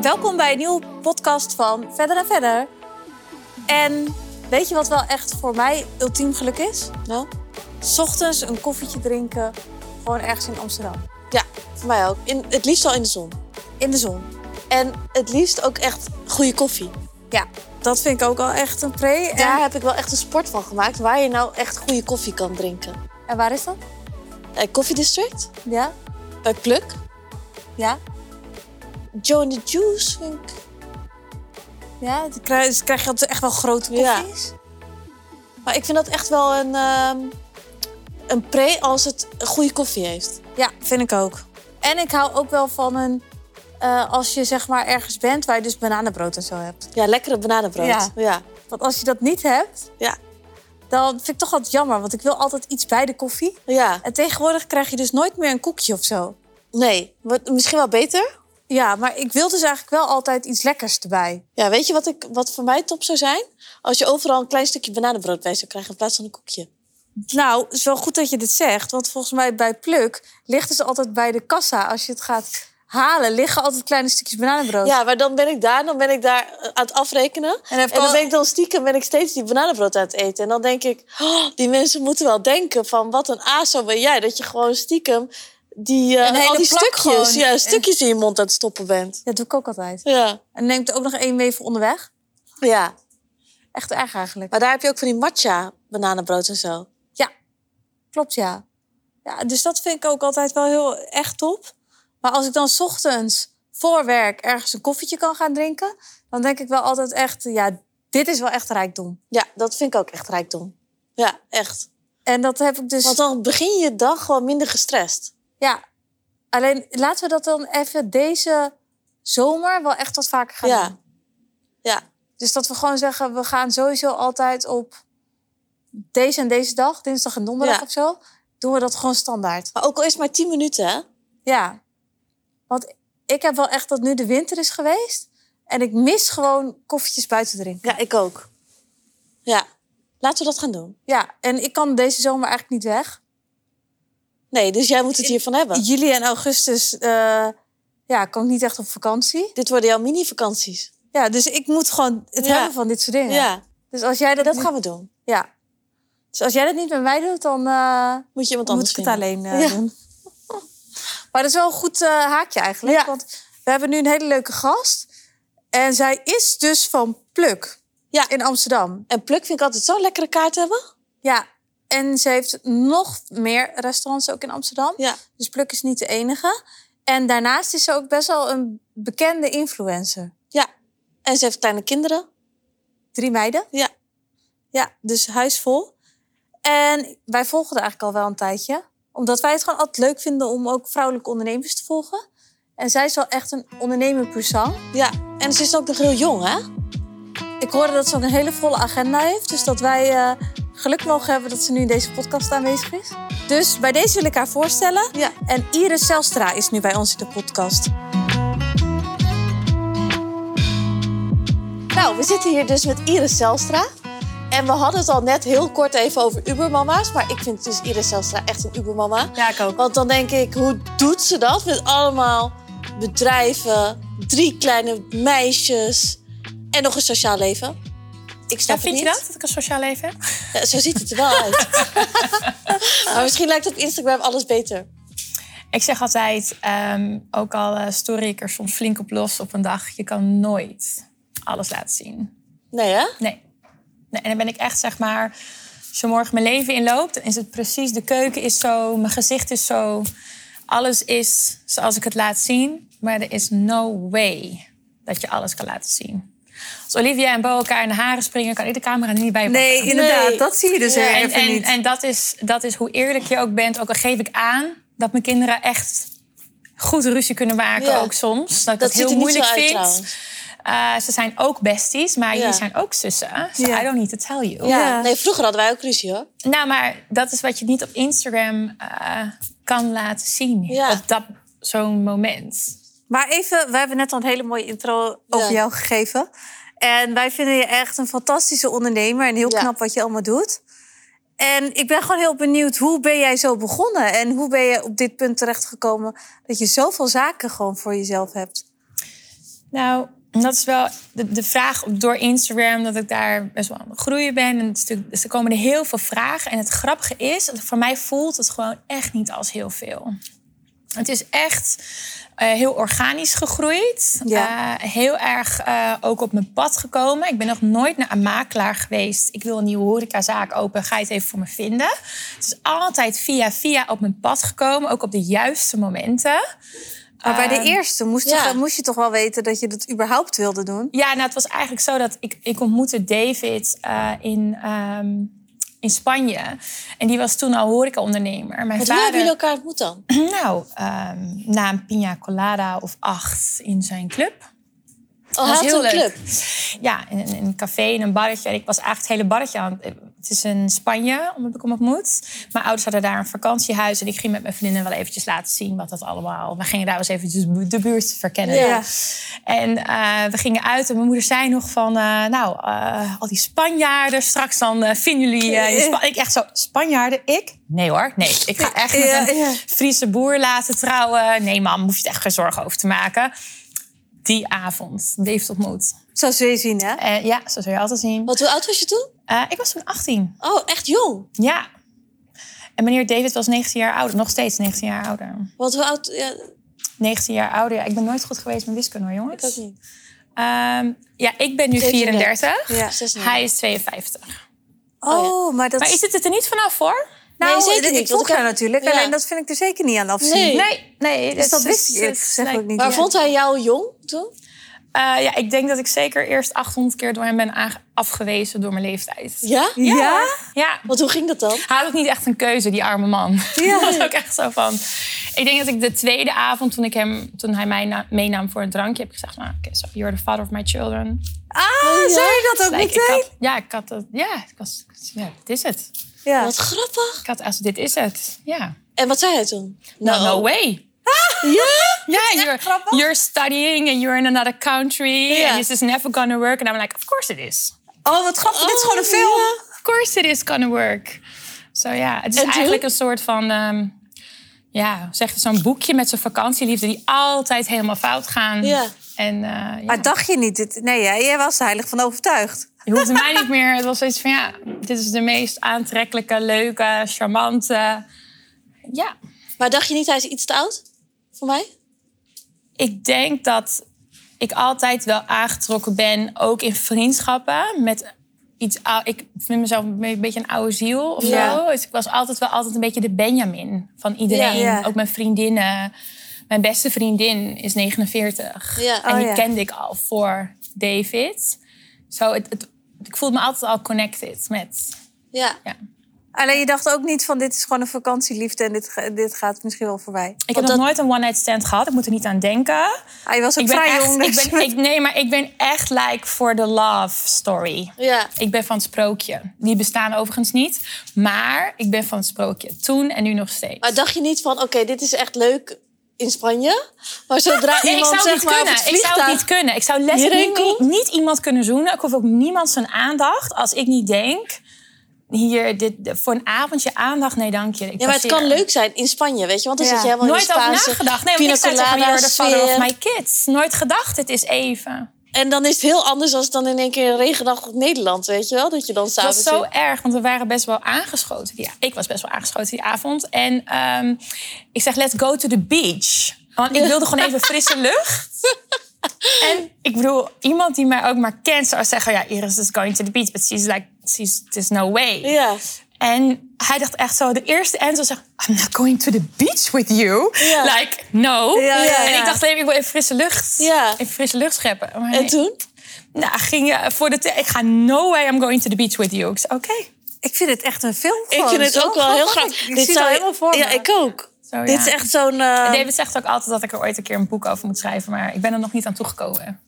Welkom bij een nieuwe podcast van Verder en Verder. En weet je wat wel echt voor mij ultiem geluk is? Nou, S ochtends een koffietje drinken, gewoon ergens in Amsterdam. ja, voor mij ook. In, het liefst al in de zon. In de zon. En het liefst ook echt goede koffie. Ja, dat vind ik ook al echt een pre. En, Daar heb ik wel echt een sport van gemaakt waar je nou echt goede koffie kan drinken. en waar is dat? Bij Coffee District, Ja? bij Pluk, Ja? Joe and the Juice. vind ik. Ja? Dan krijg, dus krijg je altijd echt wel grote Ja. koffies. Maar ik vind dat echt wel een, ehm, een pre als het een goede koffie heeft. Ja, vind ik ook. En ik hou ook wel van een... eh, als je zeg maar ergens bent waar je dus bananenbrood en zo hebt. Ja, lekkere bananenbrood. Ja. ja. Want als je dat niet hebt, Ja. dan vind ik toch altijd jammer. Want ik wil altijd iets bij de koffie. Ja. En tegenwoordig krijg je dus nooit meer een koekje of zo. Nee, wat- misschien wel beter. Ja, maar ik wil dus eigenlijk wel altijd iets lekkers erbij. Ja, weet je wat, ik, wat voor mij top zou zijn? Als je overal een klein stukje bananenbrood bij zou krijgen in plaats van een koekje. Nou, het is wel goed dat je dit zegt. Want volgens mij bij Pluk liggen ze altijd bij de kassa. Als je het gaat halen, liggen altijd kleine stukjes bananenbrood. Ja, maar dan ben ik daar, dan ben ik daar eh, aan het afrekenen. En heb ik En dan al- ben ik dan stiekem ben ik steeds die bananenbrood aan het eten. En dan denk ik, oh, die mensen moeten wel denken van wat een aso ben jij. Dat je gewoon stiekem die, eh, Een hele al die plak stukjes, gewoon. ja, En- stukjes in je mond aan het stoppen bent. Dat doe ik ook altijd. Ja. En neemt ook nog één mee voor onderweg. ja, Echt erg eigenlijk. maar daar heb je ook van die matcha bananenbrood en zo. Ja, klopt ja. ja. Dus dat vind ik ook altijd wel heel echt top. Maar als ik dan 's ochtends voor werk ergens een koffietje kan gaan drinken... dan denk ik wel altijd echt, ja, dit is wel echt rijkdom. Ja, dat vind ik ook echt rijkdom. Ja, echt. En dat heb ik dus... Want dan begin je dag gewoon minder gestrest. Ja, alleen laten we dat dan even deze zomer wel echt wat vaker gaan Ja. doen. Ja, Dus dat we gewoon zeggen, we gaan sowieso altijd op deze en deze dag, dinsdag en donderdag Ja. of zo, doen we dat gewoon standaard. maar ook al is het maar 10 minuten, hè? Ja, want ik heb wel echt dat nu de winter is geweest en ik mis gewoon koffietjes buiten drinken. Ja, ik ook. Ja, laten we dat gaan doen. Ja, en ik kan deze zomer eigenlijk niet weg. Nee, dus jij moet het hiervan hebben. Juli en augustus, eh ja, kan ik niet echt op vakantie. Dit worden jouw mini-vakanties. Ja, dus ik moet gewoon het Ja. hebben van dit soort dingen. Ja. Dus als jij dat, dat niet- gaan we doen. Ja. Dus als jij dat niet met mij doet, dan eh, Moet je iemand moet anders ik het vinden. alleen eh, Ja. doen. Maar dat is wel een goed eh, haakje eigenlijk. Ja. Want we hebben nu een hele leuke gast. En zij is dus van Pluk Ja. in Amsterdam. En Pluk vind ik altijd zo'n lekkere kaart hebben. Ja. En ze heeft nog meer restaurants ook in Amsterdam. Ja. Dus Pluk is niet de enige. En daarnaast is ze ook best wel een bekende influencer. Ja. En ze heeft kleine kinderen. Drie meiden. Ja. Ja, dus huisvol. En wij volgen er eigenlijk al wel een tijdje. Omdat wij het gewoon altijd leuk vinden om ook vrouwelijke ondernemers te volgen. En zij is wel echt een ondernemer persoon. Ja. En ze is ook nog heel jong, hè? Ik hoorde dat ze ook een hele volle agenda heeft. Dus dat wij eh, geluk mogen hebben dat ze nu in deze podcast aanwezig is. Dus bij deze wil ik haar voorstellen. Ja. En Iris Zelstra is nu bij ons in de podcast. Nou, we zitten hier dus met Iris Zelstra. En we hadden het al net heel kort even over Ubermama's. Maar ik vind dus Iris Zelstra echt een Ubermama. Ja, ik ook. Want dan denk ik, hoe doet ze dat met allemaal bedrijven, drie kleine meisjes en nog een sociaal leven? Ik snap het Ja, vind je niet. dat? Dat ik een sociaal leven heb? Ja, zo ziet het er wel uit. maar misschien lijkt op Instagram alles beter. Ik zeg altijd, ehm, ook al eh stoor ik er soms flink op los op een dag, je kan nooit alles laten zien. Nee, hè? Nee. nee. En dan ben ik echt, zeg maar, zo morgen mijn leven inloopt, dan is het precies, de keuken is zo, mijn gezicht is zo, alles is zoals ik het laat zien. Maar er is no way dat je alles kan laten zien. Als Olivia en Bo elkaar in de haren springen, kan ik de camera er niet bij pakken. Nee, inderdaad. Nee. Dat zie je dus Ja, En, even en, niet. en dat, is, dat is hoe eerlijk je ook bent. Ook al geef ik aan dat mijn kinderen echt goed ruzie kunnen maken, Ja. ook soms. Dat Dat ik dat, ziet er heel niet moeilijk zo uit, vind. trouwens. Eh, ze zijn ook besties, maar Ja. jullie zijn ook zussen. So Ja. I don't need to tell you. Ja. Ja. Nee, vroeger hadden wij ook ruzie, hoor. Nou, maar dat is wat je niet op Instagram eh, kan laten zien. Ja. Op dat, zo'n moment. Maar even, we hebben net al een hele mooie intro over Ja. jou gegeven. En wij vinden je echt een fantastische ondernemer en heel Ja. knap wat je allemaal doet. En ik ben gewoon heel benieuwd, hoe ben jij zo begonnen? En hoe ben je op dit punt terechtgekomen dat je zoveel zaken gewoon voor jezelf hebt? Nou, dat is wel de, de vraag op- door Instagram dat ik daar best wel aan het groeien ben. En het is natuurlijk- dus er komen er heel veel vragen. En het grappige is, dat voor mij voelt het gewoon echt niet als heel veel. Het is echt eh, heel organisch gegroeid. Ja. Eh, heel erg eh, ook op mijn pad gekomen. Ik ben nog nooit naar een makelaar geweest. Ik wil een nieuwe horecazaak open. Ga je het even voor me vinden? Het is altijd via via op mijn pad gekomen. Ook op de juiste momenten. Maar bij de eerste moest, Ehm, ja. je, moest je toch wel weten dat je dat überhaupt wilde doen? Ja, nou, het was eigenlijk zo dat ik, ik ontmoette David eh, in, ehm, in Spanje. En die was toen al horecaondernemer. Mijn Want hoe vader, hebben jullie elkaar ontmoet dan? nou, ehm, na een pina colada of acht in zijn club. Oh, hij Dat had was een heel leuk. club. Ja, in, in in een café, in een barretje. En ik was eigenlijk het hele barretje aan het... Het is in Spanje, omdat ik hem ontmoet. Mijn ouders hadden daar een vakantiehuis. En ik ging met mijn vriendinnen wel eventjes laten zien wat dat allemaal... We gingen daar wel eens eventjes bu- de buurt verkennen. Ja. En eh, we gingen uit en mijn moeder zei nog van... eh, nou, eh, al die Spanjaarden, straks dan eh, vinden jullie... eh, die Spa- ik echt zo, Spanjaarden, ik? Nee hoor, nee. Ik ga echt met Ja, een ja. Friese boer laten trouwen. Nee mam, hoef je het echt geen zorgen over te maken. Die avond, David ontmoet. Zo zul je zien, hè? Oh, Eh, ja, zo zou je altijd zien. Want hoe oud was je toen? Eh, ik was toen 18. Oh, echt jong. Ja. En meneer David was 19 jaar ouder. Nog steeds 19 jaar ouder. Want hoe oud... Ja, 19 jaar ouder. Ja, ik ben nooit goed geweest met wiskunde hoor, ik ook jongens. niet. Ehm, ja, ik ben nu 34. 34. Ja. 36. Hij is 52. Oh, maar dat... Maar is het het er niet vanaf hoor? Nou, Nee, zeker ik niet, want volg ik heb- jou natuurlijk. Ja. Alleen dat vind ik er zeker niet aan afzien. Nee. Nee, nee. Dus dat het is- wist ik eerlijk het- gezegd nee. ook niet. Maar Ja. vond hij jou jong toen? Eh, ja, ik denk dat ik zeker eerst 800 keer door hem ben aange- afgewezen door mijn leeftijd. Ja? Ja? Ja, Want hoe ging dat dan? Hij had ook niet echt een keuze, die arme man. Ja. Ja. was ook echt zo van. Ik denk dat ik de tweede avond, toen, ik hem, toen hij mij na- meenam voor een drankje, heb ik gezegd: nou, oké, so You're the father of my children. Ah, zei je dat ook Like, ik meteen? had, ja, ik had dat. Ja, ik was, ik was- ja, dit is het. Ja. Wat grappig. Ik had als dit is het. Ja. En wat zei hij toen? Nou, No, Nou. no way. Ja? Nou, Ja, you're, you're studying and you're in another country. Ja. And this is never gonna work. And I'm like, of course it is. Oh, wat grappig. Dit is gewoon een Oh, film. ja. Of course it is gonna work. Zo ja, het is En toen? eigenlijk een soort van... ehm, ja, zeg je, zo'n boekje met zo'n vakantieliefde... die altijd helemaal fout gaan. Ja. En eh, ja, Maar dacht je niet? Dit, nee, jij, jij was er heilig van overtuigd. je hoefde mij niet meer... Het was zoiets van, ja, dit is de meest aantrekkelijke, leuke, charmante... Ja, Maar dacht je niet, hij is iets te oud? Voor mij? ik denk dat ik altijd wel aangetrokken ben, ook in vriendschappen, met iets ou- Ik vind mezelf een be- beetje een oude ziel of Ja. zo. Dus ik was altijd wel altijd een beetje de Benjamin van iedereen. Ja. Ook mijn vriendinnen. Mijn beste vriendin is 49. Ja. En Oh, die ja. kende ik al voor David. Zo, het, het- ik voelde me altijd al connected met... Ja. Ja. Alleen je dacht ook niet van dit is gewoon een vakantieliefde en dit, ge- dit gaat misschien wel voorbij. Ik heb Want nog dat- nooit een one-night stand gehad. Ik moet er niet aan denken. Ah, je was ook Ik ben vrij echt, jong. dus- ik ben, ik, nee, maar ik ben echt like voor de love story. Ja. Ik ben van het sprookje. Die bestaan overigens niet. Maar ik ben van het sprookje. Toen en nu nog steeds. Maar dacht je niet van, oké, dit is echt leuk in Spanje. Maar zodra Nee, ik iemand zou het zeg niet maar op kunnen. het ik zou het vliegtuig... niet kunnen. Ik zou letterlijk Hierheen niet, niet iemand kunnen zoenen. Ik hoef ook niemand zijn aandacht. Als ik niet denk... Hier, dit, voor een avondje aandacht. Nee, dank je. Ik Ja, maar het passeer. kan leuk zijn in Spanje, weet je. Want dan Ja. zit je helemaal Nooit in de over Spaanse nagedacht. Nee, want ik pina zei tegen colada mijn de father of sfeer. my kids. Nooit gedacht, het is even. En dan is het heel anders als dan in één keer een regendag op Nederland, weet je wel? Dat je dan Het s'avonds... was zo erg, want we waren best wel aangeschoten. Ja, ik was best wel aangeschoten die avond. En ehm, ik zeg, let's go to the beach. Want ik wilde gewoon even frisse lucht. En ik bedoel, iemand die mij ook maar kent zou zeggen... ja, Iris is going to the beach, but she's like, she's, there's no way. Ja. En hij dacht echt zo, de eerste Enzo zegt... I'm not going to the beach with you. Ja. Like, no. Ja, ja, En ja. ik dacht, nee, ik wil even frisse lucht. Ja. Even frisse lucht scheppen. Maar En nee. toen? Nou, ging je voor de... te- Ik ga no way I'm going to the beach with you. Ik zei, oké. Ik vind het echt een film. Ik gewoon. vind het Zo ook wel heel grappig. Ik zie het al helemaal voor Ja, me. ik ook. Zo, Dit ja. is echt zo'n... eh, ehm, David zegt ook altijd dat ik er ooit een keer een boek over moet schrijven, maar ik ben er nog niet aan toegekomen.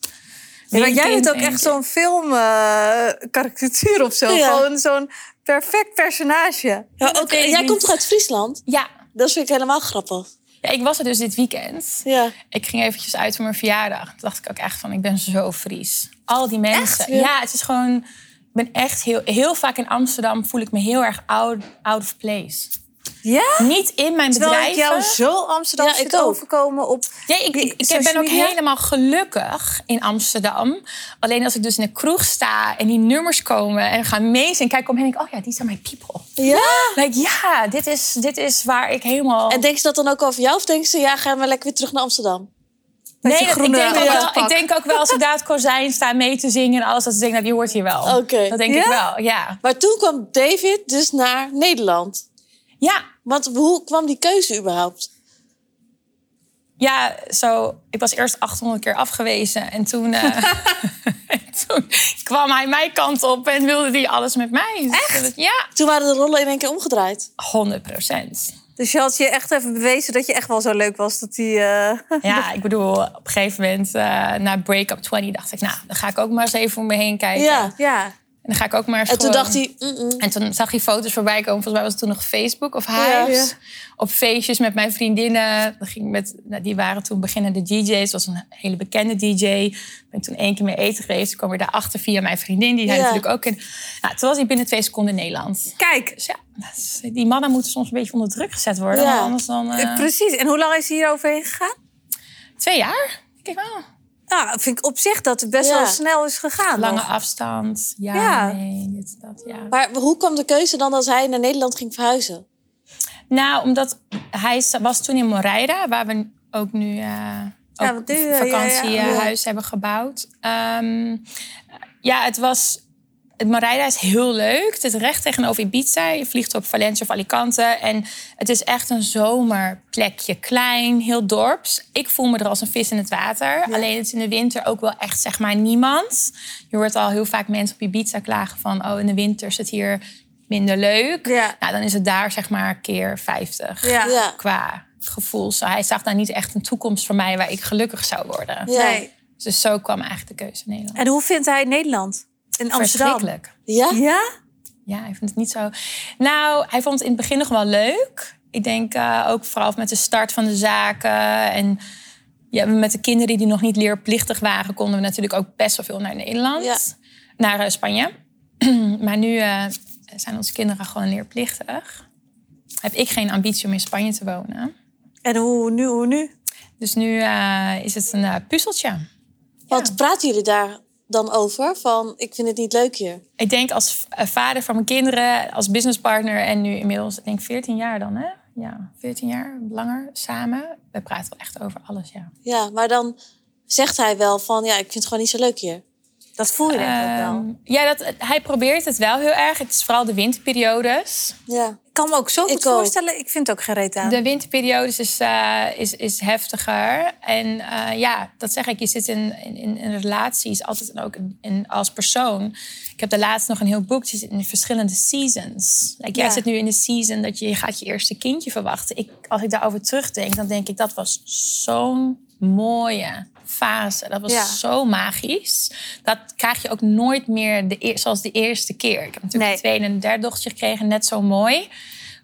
Ja, maar jij Weekend bent ook en- echt zo'n film eh, karikatuur of zo. Ja. Gewoon zo'n perfect personage. ja, ook- dat weet ik jij niet. komt toch uit Friesland? Ja. Dat vind ik helemaal grappig. ja, ik was er dus dit weekend. Ja. Ik ging eventjes uit voor mijn verjaardag. Toen dacht ik ook echt van, ik ben zo Fries. Al die mensen. Ja. ja. het is gewoon... Ik ben echt heel, heel vaak in Amsterdam voel ik me heel erg out, out of place. Ja? Niet in mijn Terwijl bedrijf. ik jou zo Amsterdam Ja, ik zit ook. overkomen op... Nee, ik, ik, ik Social ben ook media? helemaal gelukkig in Amsterdam. Alleen als ik dus in een kroeg sta en die nummers komen en we gaan meezingen... en kijk omheen en denk ik, oh ja, die zijn mijn people. Ja. Like, ja, dit is, dit is waar ik helemaal... En denken ze dat dan ook over jou? Of denken ze, ja, gaan we lekker weer terug naar Amsterdam? met je dat- ik, groene denk ook outfit wel, ik pak. denk ook wel als ik daar het kozijn sta mee te zingen en alles... dat ze denken, nou, die hoort hier wel. Oké. Dat denk ik Ja? wel, ja. Maar toen kwam David dus naar Nederland. Ja, Want hoe kwam die keuze überhaupt? Ja, zo, ik was eerst 800 keer afgewezen. En toen, eh, toen kwam hij mijn kant op en wilde hij alles met mij. Echt? Ja, Toen waren de rollen in één keer omgedraaid. 100 procent. Dus je had je echt even bewezen dat je echt wel zo leuk was dat die... eh, Ja, ik bedoel, op een gegeven moment eh, na Break Up 20 dacht ik... nou, dan ga ik ook maar eens even om me heen kijken. Ja. ja. En dan ga ik ook maar eens En toen gewoon- dacht hij, mm-mm. En toen zag hij foto's voorbij komen. Volgens mij was het toen nog Facebook of Ja. Hives. Ja. Op feestjes met mijn vriendinnen. Dan ging ik met, nou, die waren toen beginnende DJ's. Het was een hele bekende DJ. Ik ben toen één keer mee eten geweest. Ik kwam weer daarachter via mijn vriendin. Die hij Ja. natuurlijk ook in. Nou, toen was hij binnen twee seconden in Nederland. Kijk, Dus ja, dat is- die mannen moeten soms een beetje onder druk gezet worden. Ja. want Anders dan eh, eh, precies. En hoe lang is hij hier overheen gegaan? twee jaar. Denk ik wel. Nou, vind ik op zich dat het best Ja. wel snel is gegaan. Lange nog. afstand. Ja, Ja. nee, dit, dat, ja. maar hoe kwam de keuze dan als hij naar Nederland ging verhuizen? Nou, omdat hij sta- was toen in Moreira, waar we ook nu eh, ook Ja, want nu, eh, vakantiehuis ja, ja, ja. hebben gebouwd. Ehm, ja, het was. Het Moreira is heel leuk. Het is recht tegenover Ibiza. Je vliegt op Valencia of Alicante. En het is echt een zomerplekje. Klein, heel dorps. Ik voel me er als een vis in het water. Alleen het is in de winter ook wel echt, zeg maar, niemand. Je hoort al heel vaak mensen op Ibiza klagen van... oh, in de winter is het hier minder leuk. Ja. Nou, dan is het daar zeg maar keer 50 Ja. Ja. qua gevoel. Zo, hij zag daar niet echt een toekomst voor mij waar ik gelukkig zou worden. Ja. Nee. Dus zo kwam eigenlijk de keuze in Nederland. En hoe vindt hij Nederland? In Amsterdam? Verschrikkelijk. Ja? Ja? Ja, hij vond het niet zo... Nou, hij vond het in het begin nog wel leuk. Ik denk eh, ook vooral met de start van de zaken. En ja, met de kinderen die nog niet leerplichtig waren... konden we natuurlijk ook best wel veel naar Nederland. Ja. Naar eh, Spanje. maar nu eh, zijn onze kinderen gewoon leerplichtig. Heb ik geen ambitie om in Spanje te wonen. En hoe nu, hoe nu? Dus nu eh, is het een eh, puzzeltje. Wat praten jullie daar dan over? Van, ik vind het niet leuk hier. Ik denk als eh, vader van mijn kinderen, als businesspartner en nu inmiddels, ik denk 14 jaar dan, hè? Ja, 14 jaar, langer, samen. We praten wel echt over alles, ja. Ja, maar dan zegt hij wel van, ja, ik vind het gewoon niet zo leuk hier. Dat voel je denk ik ook wel. Ehm, ja, dat, hij probeert het wel heel erg. Het is vooral de winterperiodes. Ja. Ik kan me ook zo goed ik ook. voorstellen. Ik vind het ook gereed aan. De winterperiodes is, eh, is, is heftiger. En eh, ja, dat zeg ik. Je zit in, in, in een relatie, is altijd en ook in, in- als persoon. Ik heb de laatst nog een heel boek. Je zit in de verschillende seasons. Like, Jij Ja. zit nu in de season dat je, je gaat je eerste kindje verwachten. Ik, als ik daarover terugdenk, dan denk ik dat was zo'n mooie fase. Dat was Ja. zo magisch. Dat krijg je ook nooit meer de, eer- zoals de eerste keer. Ik heb natuurlijk Nee. een tweede en een derde dochtertje gekregen. Net zo mooi.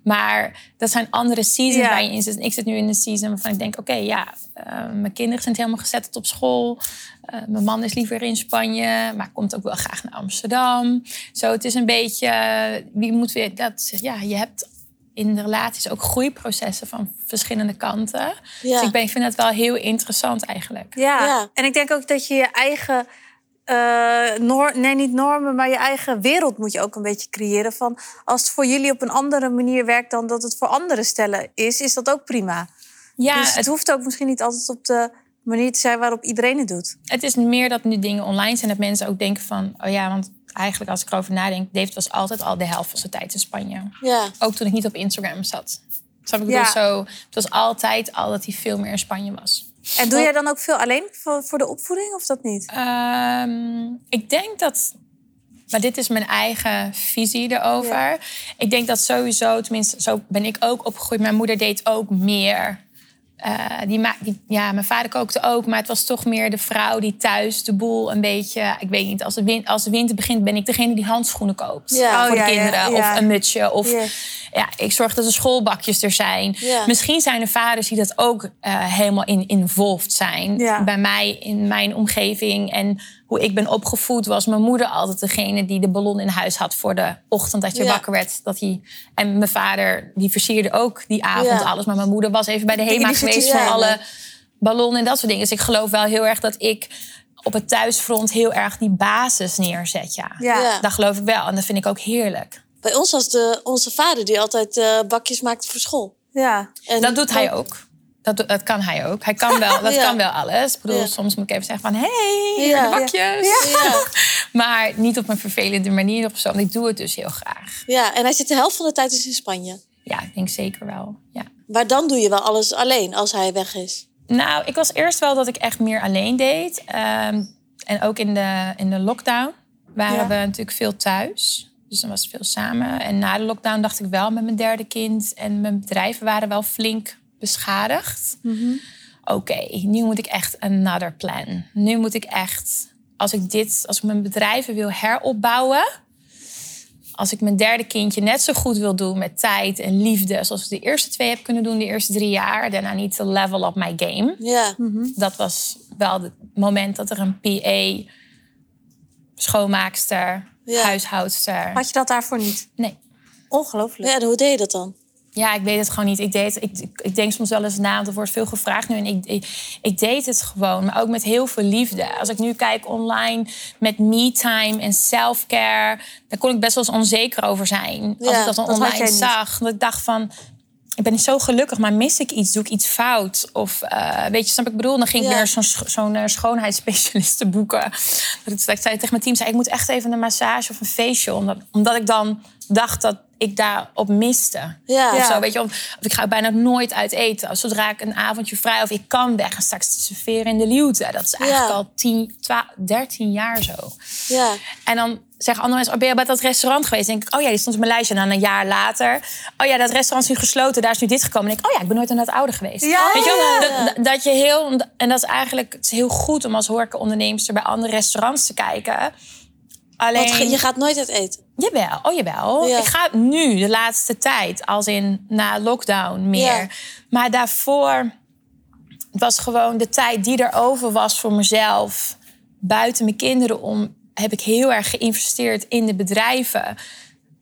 Maar dat zijn andere seasons Ja. waar je in zit. En Ik zit nu in een season waarvan ik denk... oké, ja, eh, mijn kinderen zijn helemaal gezetteld op school. Eh, mijn man is liever in Spanje, maar komt ook wel graag naar Amsterdam. Zo, het is een beetje... eh, wie moet weer... Dat, ja, je hebt in de relaties ook groeiprocessen van verschillende kanten. Ja. Dus ik, ben, ik vind dat wel heel interessant eigenlijk. Ja. Ja. en ik denk ook dat je je eigen... eh, noor- nee, niet normen, maar je eigen wereld moet je ook een beetje creëren. Van als het voor jullie op een andere manier werkt dan dat het voor andere stellen is, is dat ook prima. Ja, dus het, het, hoeft ook misschien niet altijd op de manier te zijn waarop iedereen het doet. het is meer dat nu dingen online zijn... dat mensen ook denken van... oh ja, want eigenlijk als ik erover nadenk... David was altijd al de helft van zijn tijd in Spanje. Ja. ook toen ik niet op Instagram zat. Snap ik Ja. bedoel, zo, het was altijd al dat hij veel meer in Spanje was. En doe jij dan ook veel alleen voor, voor de opvoeding of dat niet? Ehm, ik denk dat, maar dit is mijn eigen visie erover. Ik denk dat sowieso, tenminste zo ben ik ook opgegroeid. Mijn moeder deed ook meer. Eh, die ma- die, ja, mijn vader kookte ook, maar het was toch meer de vrouw die thuis de boel een beetje... Ik weet niet, als de, win- als de winter begint ben ik degene die handschoenen koopt Ja. voor Oh, de ja, ja, kinderen. ja. Of een mutsje. Of Ja. Ja, ik zorg dat er schoolbakjes er zijn. Ja. Misschien zijn er vaders die dat ook eh, helemaal in involved zijn. Ja. Bij mij, in mijn omgeving en hoe ik ben opgevoed... was mijn moeder altijd degene die de ballon in huis had... voor de ochtend dat je Ja. wakker werd. Dat hij en mijn vader, die versierde ook die avond Ja. alles. Maar mijn moeder was even bij de HEMA die zit geweest... hier van samen. alle ballonnen en dat soort dingen. Dus ik geloof wel heel erg dat ik op het thuisfront... heel erg die basis neerzet, ja. Ja. Ja. Dat geloof ik wel. En dat vind ik ook heerlijk. Bij ons was de, onze vader die altijd eh, bakjes maakte voor school. ja. En dat doet hij ook. Dat, do- dat kan hij ook. Hij kan wel, dat Ja. kan wel alles. Ik bedoel, Ja. soms moet ik even zeggen van... hey, hier Ja. de bakjes. Ja, Maar niet op een vervelende manier of zo. Want ik doe het dus heel graag. ja, en hij zit de helft van de tijd dus in Spanje. Ja, ik denk zeker wel. Ja. Maar dan doe je wel alles alleen als hij weg is. Nou, ik was eerst wel dat ik echt meer alleen deed. Ehm, en ook in de, in de lockdown waren Ja. we natuurlijk veel thuis. Dus dan was het veel samen. En na de lockdown dacht ik wel met mijn derde kind. En mijn bedrijven waren wel flink beschadigd. Oké, nu moet ik echt another plan. Nu moet ik echt, als ik dit, als ik mijn bedrijven wil heropbouwen. Als ik mijn derde kindje net zo goed wil doen met tijd en liefde. Zoals ik de eerste twee heb kunnen doen, de eerste drie jaar. Daarna niet te level up my game Ja, dat was wel het moment dat er een PA, schoonmaakster, Ja. huishoudster. Had je dat daarvoor niet? Nee. Ongelooflijk. ja en hoe deed je dat dan? Ja, ik weet het gewoon niet. Ik, deed, ik, ik, ik denk soms wel eens na, want er wordt veel gevraagd nu. En ik, ik, ik deed het gewoon, maar ook met heel veel liefde. Als ik nu kijk online met me-time en self-care... daar kon ik best wel eens onzeker over zijn. als Ja, ik dat dan dat had jij online niet. zag. Dat ik dacht van, ik ben zo gelukkig, maar mis ik iets? Doe ik iets fout? Of eh, weet je, snap ik wat ik bedoel? Dan ging ik Ja. weer zo'n scho- zo'n eh, schoonheidsspecialiste boeken. Dat ik, dat ik zei tegen mijn team, zei, ik moet echt even een massage of een facial. Omdat, omdat ik dan dacht dat ik daarop miste. Ja. Of zo, weet je, of, of ik ga ook bijna nooit uit eten. Zodra ik een avondje vrij of ik kan weg en straks serveren in de Liute. Dat is eigenlijk Ja. al 10, 12, 13 jaar zo. Ja, En dan zeggen andere mensen, oh, ben je bij dat restaurant geweest? Dan denk ik, oh ja, die stond op mijn lijstje. En dan een jaar later, oh ja, dat restaurant is nu gesloten. Daar is nu dit gekomen. En denk ik, oh ja, ik ben nooit aan dat oude geweest. Ja. Weet je Oh wel? Dat, dat- dat je heel... En dat is eigenlijk het is heel goed om als horecaondernemster... bij andere restaurants te kijken. Alleen... want ge- je gaat nooit uit eten. Jawel, oh jawel. Ja. Ik ga nu, de laatste tijd, als in na lockdown meer. Ja. Maar daarvoor was gewoon de tijd die er over was voor mezelf, buiten mijn kinderen om, heb ik heel erg geïnvesteerd in de bedrijven.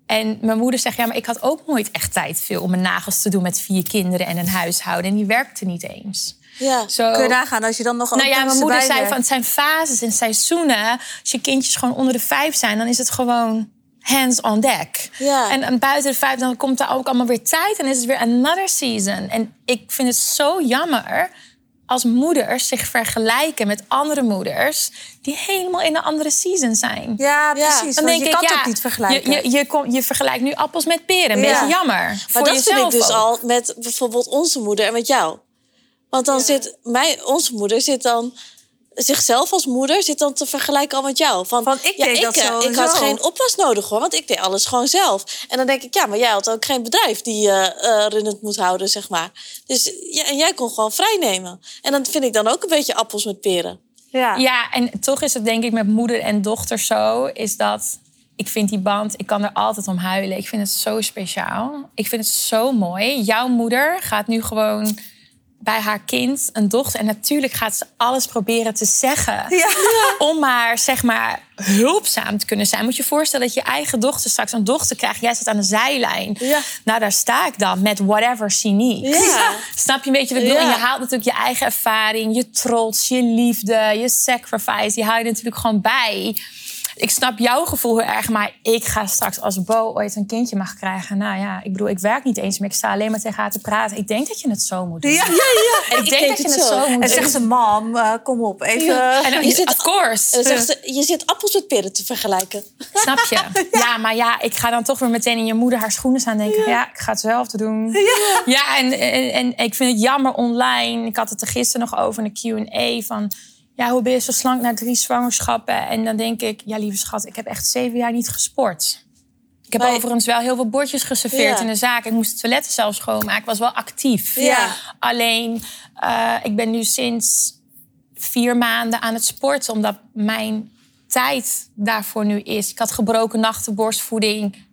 En mijn moeder zegt, ja, maar ik had ook nooit echt tijd veel om mijn nagels te doen met vier kinderen en een huishouden. En die werkte niet eens. Ja, Zo. Kun je nagaan als je dan nog Nou ja, mijn moeder zei van van het zijn fases en seizoenen. Als je kindjes gewoon onder de vijf zijn, dan is het gewoon hands on deck. Ja. En, en buiten de vijf, dan komt daar ook allemaal weer tijd en is het weer another season. En ik vind het zo jammer als moeders zich vergelijken met andere moeders die helemaal in een andere season zijn. Ja, precies. Dan want denk je ik, kan het ja, ook niet vergelijken. Je, je, je, kom- je vergelijkt nu appels met peren. Een Ja. beetje jammer. Maar voor dat vind ik jezelf dus ook. al met bijvoorbeeld onze moeder en met jou. Want dan zit mijn, onze moeder zit dan zichzelf als moeder zit dan te vergelijken al met jou. Van, Van, ik ja, deed ik, dat eh, zo en ik had zo. geen oppas nodig hoor, want ik deed alles gewoon zelf. En dan denk ik, ja, maar jij had ook geen bedrijf die je eh runnend moet houden, zeg maar. Dus ja, en jij kon gewoon vrij nemen. En dat vind ik dan ook een beetje appels met peren. ja. Ja, en toch is het denk ik met moeder en dochter zo, is dat ik vind die band, ik kan er altijd om huilen. Ik vind het zo speciaal. Ik vind het zo mooi. Jouw moeder gaat nu gewoon bij haar kind, een dochter, en natuurlijk gaat ze alles proberen te zeggen. Om maar, zeg maar, hulpzaam te kunnen zijn. Moet je je voorstellen dat je eigen dochter straks een dochter krijgt. Jij zit aan de zijlijn. Ja. Nou, daar sta ik dan met whatever she needs. Ja. Snap je een beetje wat ik bedoel? Ja. En je haalt natuurlijk je eigen ervaring, je trots, je liefde, je sacrifice. Die hou je natuurlijk gewoon bij. Ik snap jouw gevoel heel erg, maar ik ga straks als Bo ooit een kindje mag krijgen. Nou ja, ik bedoel, ik werk niet eens meer. Ik sta alleen maar tegen haar te praten. Ik denk dat je het zo moet doen. Ja. En ik, denk dat je het het zo. zo, moet doen. En zegt ze, mam, eh, kom op, even... En dan- Je zit- of course. En dan zegt ze, je zit appels met peren te vergelijken. Snap je? Ja. maar ja, ik ga dan toch weer meteen in je moeder haar schoenen staan denken. Ja, ik ga hetzelfde doen. Ja, en, en, en ik vind het jammer online. Ik had het er gisteren nog over in de Q&A van... Ja, hoe ben je zo slank na drie zwangerschappen? En dan denk ik, ja lieve schat, ik heb echt zeven jaar niet gesport. Ik heb Maar- overigens wel heel veel bordjes geserveerd Ja. in de zaak. Ik moest de toiletten zelf schoonmaken. Ik was wel actief. Ja. Alleen, eh, ik ben nu sinds vier maanden aan het sporten, omdat mijn tijd daarvoor nu is. Ik had gebroken nachten, borstvoeding.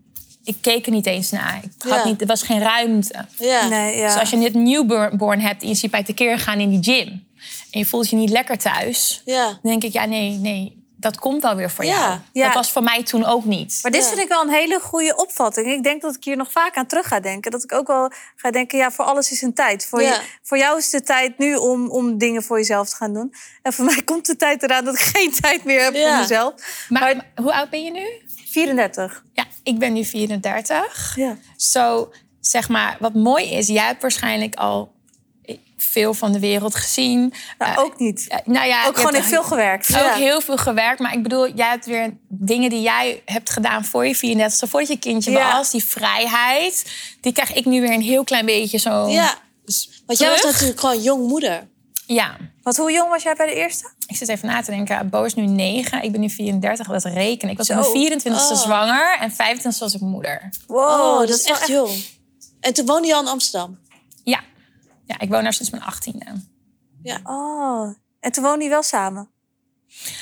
ik keek er niet eens naar. Ik had Ja. niet, er was geen ruimte. Ja. Nee, ja. Dus als je net newborn hebt en je ziet bij tekeer gaan in die gym... en je voelt je niet lekker thuis... Ja. dan denk ik, ja, nee, nee, dat komt wel weer voor Ja, jou. ja. Dat was voor mij toen ook niet. Maar dit Ja. vind ik wel een hele goede opvatting. Ik denk dat ik hier nog vaak aan terug ga denken. Dat ik ook wel ga denken, ja, voor alles is een tijd. Voor, Ja. je, voor jou is de tijd nu om, om dingen voor jezelf te gaan doen. En voor mij komt de tijd eraan dat ik geen tijd meer heb Ja. voor mezelf. Maar, maar hoe oud ben je nu? 34. Ja, ik ben nu 34. Ja. Zo, zeg maar, wat mooi is... jij hebt waarschijnlijk al veel van de wereld gezien. Nou, Eh, ook niet. eh, nou ja, ook je gewoon in hebt- veel gewerkt. ook Ja. heel veel gewerkt. Maar ik bedoel, jij hebt weer dingen die jij hebt gedaan voor je 34 voordat je kindje Ja. was. Die vrijheid, die krijg ik nu weer een heel klein beetje zo. Ja. Want jij was Dus Terug? natuurlijk gewoon jong moeder. Ja. Want hoe jong was jij bij de eerste? Ik zit even na te denken. Bo is nu 9, ik ben nu 34, dat reken. Ik was Zo. op mijn 24ste Oh. zwanger en 25 was ik moeder. Wow, Oh, dat, wel is echt jong. En toen woonde je al in Amsterdam. Ja. Ja, ik woon daar sinds mijn 18e. Oh, en toen woonde je wel samen?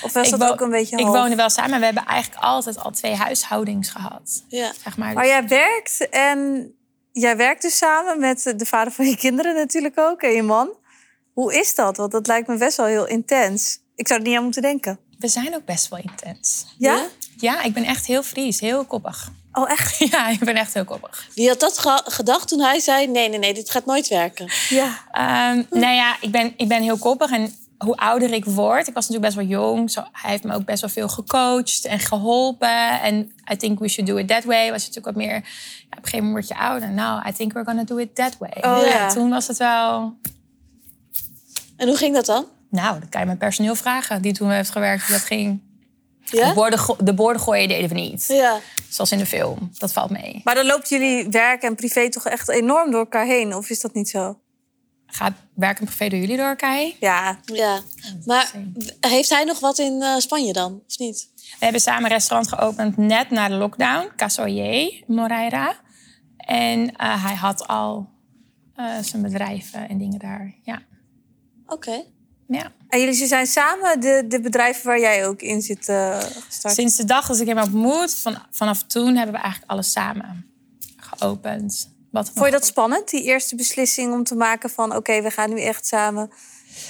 Of was ik dat wo- ook een beetje Ik half? woonde wel samen, maar we hebben eigenlijk altijd al twee huishoudings gehad. Ja. Zeg maar. Maar jij werkt en jij werkt dus samen met de vader van je kinderen natuurlijk ook en je man. Hoe is dat? Want dat lijkt me best wel heel intens. Ik zou er niet aan moeten denken. We zijn ook best wel intens. Ja? Ja? Ja, ik ben echt heel Fries, heel koppig. Oh, echt? Ja, ik ben echt heel koppig. Wie had dat ge- gedacht toen hij zei: nee, nee, nee, dit gaat nooit werken? Ja. Ehm, nou ja, ik ben, ik ben heel koppig. En hoe ouder ik word, ik was natuurlijk best wel jong. Zo, hij heeft me ook best wel veel gecoacht en geholpen. En I think we should do it that way. Was natuurlijk wat meer. ja, op een gegeven moment word je ouder. Nou, I think we're gonna do it that way. Oh, Ja. ja. Toen was het wel. En hoe ging dat dan? Nou, dat kan je mijn personeel vragen. Die toen heeft gewerkt, hoe dat ging. De, Ja? borden, go- de borden gooien deden we niet. Ja. Zoals in de film. Dat valt mee. Maar dan loopt jullie werk en privé toch echt enorm door elkaar heen? Of is dat niet zo? Gaat werk en privé door jullie door elkaar heen? Ja. ja. Maar insane. heeft hij nog wat in eh, Spanje dan? Of niet? We hebben samen een restaurant geopend net na de lockdown. Casoyer Moreira. En eh, hij had al eh, zijn bedrijven en dingen daar. Ja. Oké. ja. En jullie zijn samen de, de bedrijven waar jij ook in zit eh, gestart? Sinds de dag dat ik hem ontmoet, van, vanaf toen hebben we eigenlijk alles samen geopend. Wat Vond je dat spannend, die eerste beslissing om te maken van... oké, we gaan nu echt samen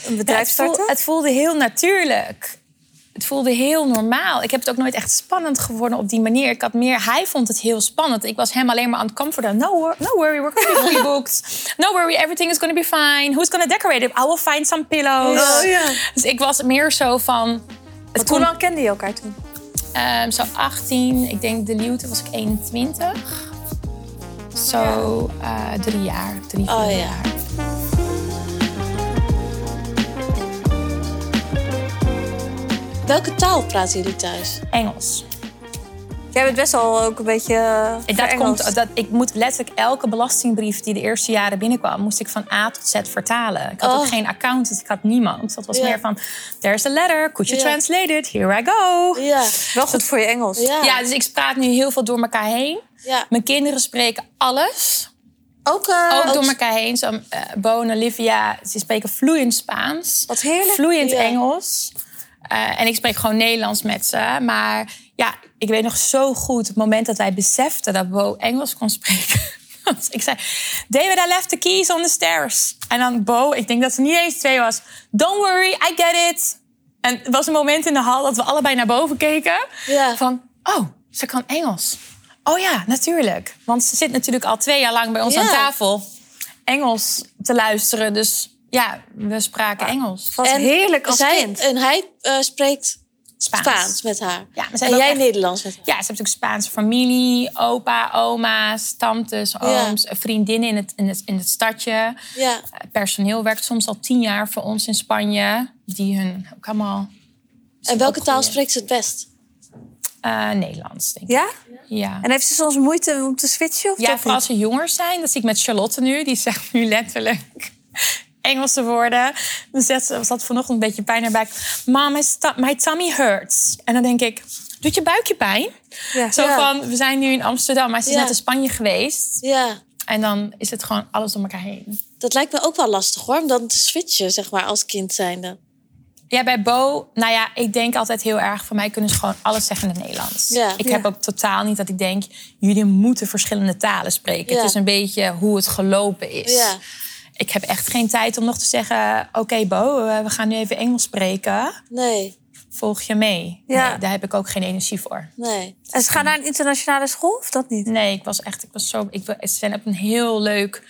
een bedrijf het, voel- starten? het voelde heel natuurlijk. Het voelde heel normaal. Ik heb het ook nooit echt spannend geworden op die manier. Ik had meer, hij vond het heel spannend. Ik was hem alleen maar aan het comforten. No, wor- no worry, we're going to be fully booked. No worry, everything is going to be fine. Who's going to decorate it? I will find some pillows. Oh, ja. Dus ik was meer zo van... Het Hoe kon lang kende je elkaar toen? ehm, zo 18, ik denk de liefde was ik 21. Zo eh, drie jaar, drie, vier Oh, ja. jaar. Welke taal praten jullie thuis? Engels. Jij bent best wel ook een beetje. eh, En Eh, Dat komt, dat, ik moet letterlijk elke belastingbrief die de eerste jaren binnenkwam, moest ik van A tot Z vertalen. Ik had ook Oh. geen accountant, ik had niemand. Dat was Ja. meer van, there's a letter, could you Ja. translate it? Here I go. Ja. Ja. Wel goed voor je Engels. Ja. dus ik praat nu heel veel door elkaar heen. ja. Mijn kinderen spreken alles, Ook, eh, ook door ook- elkaar heen. Zo, eh, Bo en Olivia, ze spreken vloeiend Spaans. Wat heerlijk. Vloeiend Ja. Engels. Eh, en ik spreek gewoon Nederlands met ze. Maar ja, ik weet nog zo goed het moment dat wij beseften dat Bo Engels kon spreken. Want ik zei, David, I left the keys on the stairs. En dan Bo, ik denk dat ze niet eens twee was. Don't worry, I get it. En het was een moment in de hal dat we allebei naar boven keken. Ja. Van, oh, ze kan Engels. Oh ja, natuurlijk. Want ze zit natuurlijk al twee jaar lang bij ons Ja. aan tafel. Engels te luisteren. Dus ja, we spraken Engels. Wat heerlijk als zij, kind. En hij eh, spreekt Spaans. Spaans met haar. Ja, maar ze en hebben jij ook echt- Nederlands met haar. Ja, ze hebben natuurlijk Spaanse familie, opa, oma's, tantes, ooms, vriendinnen in het, in, het, in het stadje. Ja. Het personeel werkt soms al tien jaar voor ons in Spanje. Die hun ook allemaal En welke opgroeien. taal spreekt ze het best? eh, Nederlands, denk ik. Ja? Ja. En heeft ze soms moeite om te switchen? Of Ja, toch vooral niet? als ze jonger zijn. Dat zie ik met Charlotte nu. Die zegt nu letterlijk Engelse woorden. Dan zegt ze, zat vanochtend een beetje pijn in haar buik. Mom, my, sta- my tummy hurts. En dan denk ik, doet je buikje pijn? Ja. Zo Ja. van, we zijn nu in Amsterdam, maar ze is Ja. net in Spanje geweest. Ja. En dan is het gewoon alles door elkaar heen. Dat lijkt me ook wel lastig hoor, om dan te switchen, zeg maar, als kind zijnde. Ja, bij Bo, nou ja, ik denk altijd heel erg... van mij kunnen ze gewoon alles zeggen in het Nederlands. Ja. Ik Ja. heb ook totaal niet dat ik denk... jullie moeten verschillende talen spreken. Ja. Het is een beetje hoe het gelopen is. Ja. Ik heb echt geen tijd om nog te zeggen... oké Bo, eh, we gaan nu even Engels spreken. Nee, Volg je mee? Ja. Nee, daar heb ik ook geen energie voor. nee. En ze gaan naar een internationale school of dat niet? Nee, ik was echt, ik was zo. Ik, wil- ze zijn op een heel leuk,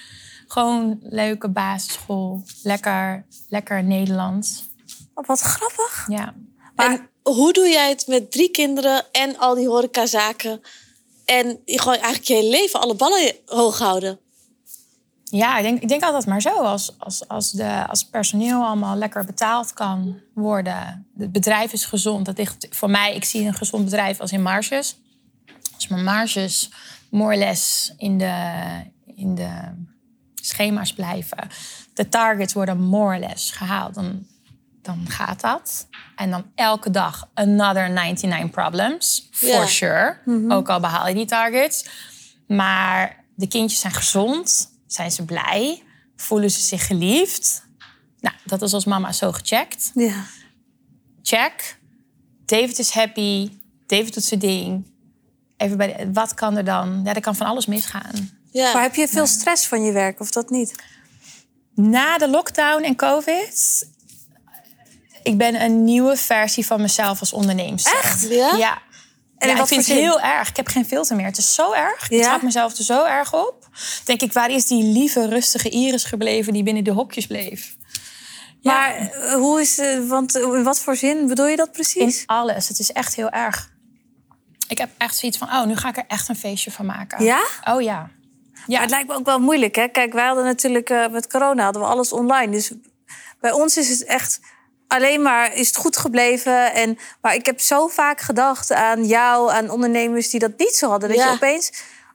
gewoon leuke basisschool. Lekker, lekker Nederlands. Oh, wat grappig. Ja. Maar- En hoe doe jij het met drie kinderen en al die horecazaken? En je gewoon eigenlijk je hele leven alle ballen hoog houden. Ja, ik denk, ik denk altijd maar zo. Als, als, als, de, als personeel allemaal lekker betaald kan worden. Het bedrijf is gezond. Dat ligt voor mij, ik zie een gezond bedrijf als in marges. Als mijn marges more or less in de, in de schema's blijven. De targets worden more or less gehaald. Dan, dan gaat dat. En dan elke dag another 99 problems. For Ja. sure. Ook al behaal je die targets. Maar de kindjes zijn gezond, zijn ze blij, voelen ze zich geliefd. Nou, dat is als mama zo gecheckt. Ja. Check. David is happy. David doet zijn ding. Even bij de- wat kan er dan? Ja, er kan van alles misgaan. Ja. Maar heb je veel stress van je werk of dat niet? Na de lockdown en COVID, ik ben een nieuwe versie van mezelf als onderneemster. Echt? Ja? Ja. En En ja, wat ik vind voor het zin? heel erg. Ik heb geen filter meer. Het is zo erg. Ik Ja? trap mezelf er zo erg op. Denk ik, waar is die lieve, rustige Iris gebleven die binnen de hokjes bleef? Ja. Maar eh, hoe is, eh, want eh, in wat voor zin bedoel je dat In precies? alles. Het is echt heel erg. Ik heb echt zoiets van, oh, nu ga ik er echt een feestje van maken. Ja? Oh ja. Maar het lijkt me ook wel moeilijk, hè? Kijk, wij hadden natuurlijk eh, met corona hadden we alles online, dus bij ons is het echt alleen maar is het goed gebleven. En maar ik heb zo vaak gedacht aan jou, aan ondernemers die dat niet zo hadden, dat Ja. je opeens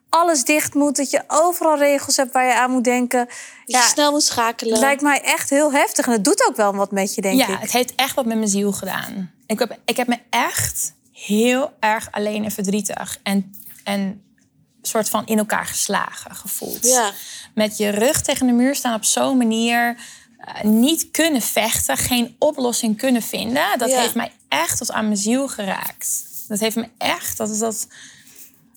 alles dicht moet, dat je overal regels hebt waar je aan moet denken. Dat je Ja, snel moet schakelen. het lijkt mij echt heel heftig en het doet ook wel wat met je, denk ja, ik. het heeft echt wat met mijn ziel gedaan. Ik heb, ik heb me echt heel erg alleen en verdrietig en, en soort van in elkaar geslagen gevoeld. Ja. Met je rug tegen de muur staan op zo'n manier. eh, niet kunnen vechten, geen oplossing kunnen vinden. Dat Ja. heeft mij echt tot aan mijn ziel geraakt. Dat heeft me echt, dat is dat.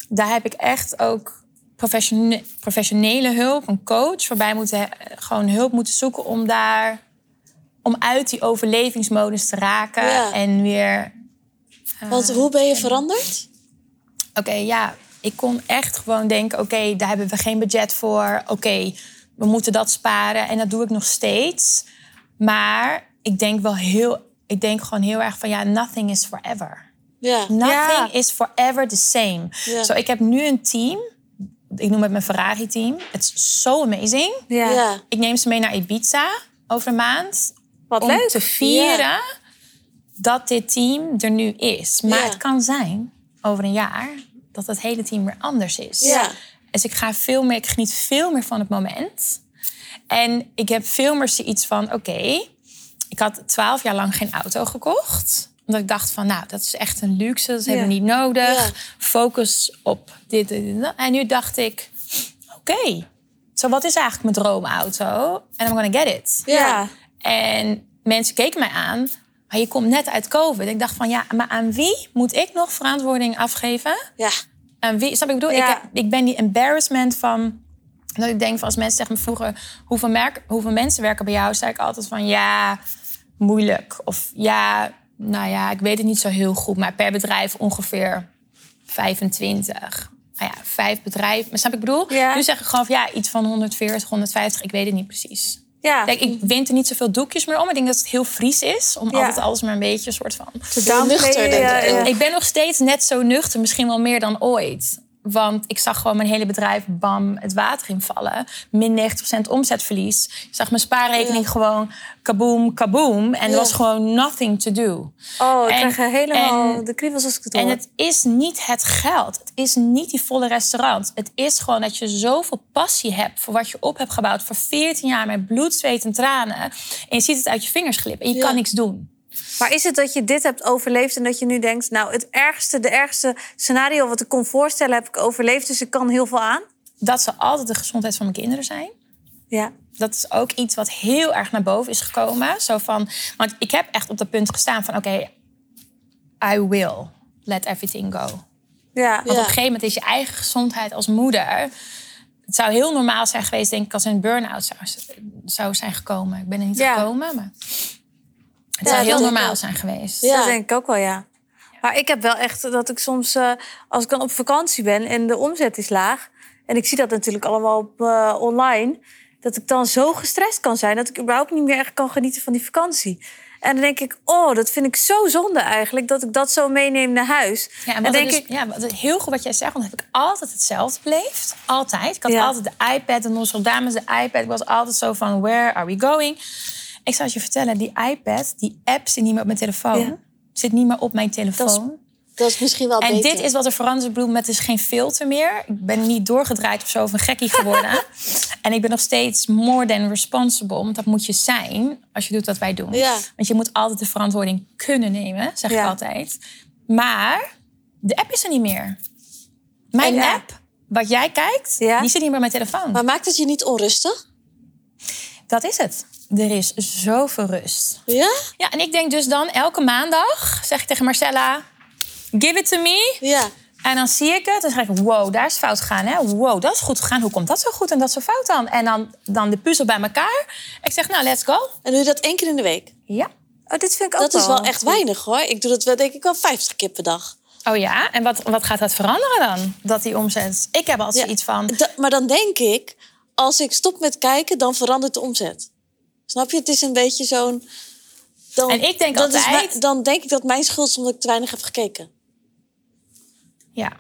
Daar heb ik echt ook professione- professionele hulp, een coach, waarbij moeten he- gewoon hulp moeten zoeken om daar om uit die overlevingsmodus te raken Ja. en weer Want hoe ben je veranderd? oké, ja, ik kon echt gewoon denken, oké, daar hebben we geen budget voor. Oké, we moeten dat sparen en dat doe ik nog steeds. Maar ik denk wel heel, ik denk gewoon heel erg van ja, nothing is forever. Ja. Nothing Ja. is forever the same. Ja. Zo, ik heb nu een team. Ik noem het mijn Ferrari-team. Het is so amazing. Ja. Ja. Ik neem ze mee naar Ibiza over een maand Wat om leuk. te vieren Ja. dat dit team er nu is. Maar Ja. het kan zijn over een jaar dat het hele team weer anders is. Ja. Dus ik ga veel meer, ik geniet veel meer van het moment. En ik heb veel meer zoiets van: oké, ik had twaalf jaar lang geen auto gekocht. Omdat ik dacht van, nou, dat is echt een luxe, dat hebben we niet nodig. Ja. Focus op dit, dit, dit. En nu dacht ik, oké, zo wat is eigenlijk mijn droomauto? And I'm gonna get it. Ja. En mensen keken mij aan, maar je komt net uit COVID. Ik dacht van, ja, maar aan wie moet ik nog verantwoording afgeven? Ja. Aan wie, snap je wat ik bedoel? Ja. Ik, heb- ik ben die embarrassment van... Dat ik denk van als mensen tegen me vroegen... Hoeveel, merk, hoeveel mensen werken bij jou? zei ik altijd van ja, moeilijk. Of ja, nou ja, ik weet het niet zo heel goed. Maar per bedrijf ongeveer 25. Nou ja, vijf bedrijven. Maar snap je wat ik bedoel? Ja. Nu zeg ik gewoon van ja, iets van 140, 150. Ik weet het niet precies. Ja. Kijk, ik wint er niet zoveel doekjes meer om. Ik denk dat het heel Fries is. Om Ja. altijd alles maar een beetje een soort van... Te downplayen, eh, nuchter, denk ja, ik ook. ja. Ik ben nog steeds net zo nuchter, misschien wel meer dan ooit. Want ik zag gewoon mijn hele bedrijf, bam, het water invallen. Min 90% omzetverlies. Ik zag mijn spaarrekening gewoon kaboom, kaboom. En er Ja. was gewoon nothing to do. Oh, ik En- krijg helemaal en- de kriebels als ik het hoor. En het is niet het geld. Het is niet die volle restaurant. Het is gewoon dat je zoveel passie hebt voor wat je op hebt gebouwd. Voor 14 jaar met bloed, zweet en tranen. En je ziet het uit je vingers glippen. En je Ja. kan niks doen. Maar is het dat je dit hebt overleefd en dat je nu denkt... nou, het ergste, de ergste scenario wat ik kon voorstellen heb ik overleefd... dus ik kan heel veel aan? Dat zal altijd de gezondheid van mijn kinderen zijn. Ja. dat is ook iets wat heel erg naar boven is gekomen. Zo van, want ik heb echt op dat punt gestaan van... oké, I will let everything go. Ja. Ja. Want op een gegeven moment is je eigen gezondheid als moeder. Het zou heel normaal zijn geweest, denk ik, als er een burn-out zou, zou zijn gekomen. Ik ben er niet Ja. gekomen, maar. Het Ja, zou heel dat denk ik normaal ook. zijn geweest. Ja. Ja. Dat denk ik ook wel, ja. Maar ik heb wel echt dat ik soms, eh, als ik dan op vakantie ben en de omzet is laag, en ik zie dat natuurlijk allemaal op, eh, online, dat ik dan zo gestrest kan zijn dat ik überhaupt niet meer echt kan genieten van die vakantie. En dan denk ik, oh, dat vind ik zo zonde eigenlijk, dat ik dat zo meeneem naar huis. en en wat denk het is, ik, ja, wat het- heel goed wat jij zegt, want heb ik altijd hetzelfde beleefd. Altijd. Ik had Ja. altijd de iPad en onze dames de iPad. Ik was altijd zo van, where are we going? Ik zou het je vertellen, die iPad, die app zit niet meer op mijn telefoon. Ja. Zit niet meer op mijn telefoon. Dat is misschien wel En beter. dit is wat er veranderd is. Ik bedoel, met is geen filter meer. Ik ben niet doorgedraaid of zo of een gekkie geworden. en ik ben nog steeds more than responsible. Want dat moet je zijn als je doet wat wij doen. Ja. Want je moet altijd de verantwoording kunnen nemen, zeg ik Ja. altijd. Maar de app is er niet meer. Mijn En- app, wat jij kijkt, Ja. die zit niet meer op mijn telefoon. Maar maakt het je niet onrustig? Dat is het. Er is zoveel rust. Ja? Ja, en ik denk dus dan elke maandag zeg ik tegen Marcella... Give it to me. Ja. En dan zie ik het en zeg ik, wow, daar is fout gegaan. Hè? Wow, dat is goed gegaan. Hoe komt dat zo goed en dat zo fout dan? En dan, dan de puzzel bij elkaar. Ik zeg, nou, let's go. En doe je dat één keer in de week? Ja. oh, dit vind ik ook Dat is wel wel echt weinig hoor. Ik doe dat wel, denk ik wel 50 keer per dag. Oh ja, en wat, wat gaat dat veranderen dan? Dat die omzet... Ik heb altijd Ja. iets van... Da- maar dan denk ik, als ik stop met kijken, dan verandert de omzet. Snap je? Het is een beetje zo'n. Dan, En ik denk dat is altijd- mijn- dan denk ik dat mijn schuld is omdat ik te weinig heb gekeken. Ja.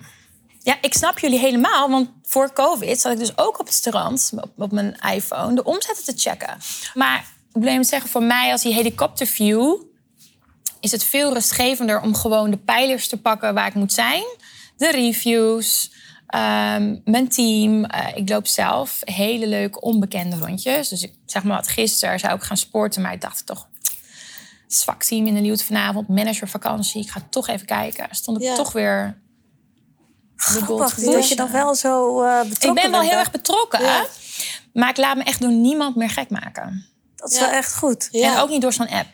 Ja, ik snap jullie helemaal, want voor COVID zat ik dus ook op het strand op, op mijn iPhone de omzetten te checken. Maar ik wil even zeggen, voor mij als die helikopterview is het veel rustgevender om gewoon de pijlers te pakken waar ik moet zijn. De reviews, ehm, mijn team. Eh, ik loop zelf hele leuke onbekende rondjes. Dus ik zeg maar wat, gisteren zou ik gaan sporten, maar ik dacht toch, zwak team in de Liewt vanavond, managervakantie. Ik ga toch even kijken. Stond ik Ja. toch weer de grappig, gold dat je dan dan wel zo eh betrokken Ik ben wel bent. heel erg betrokken, Ja. maar ik laat me echt door niemand meer gek maken. Dat is Ja. wel echt goed. Ja. En ook niet door zo'n app.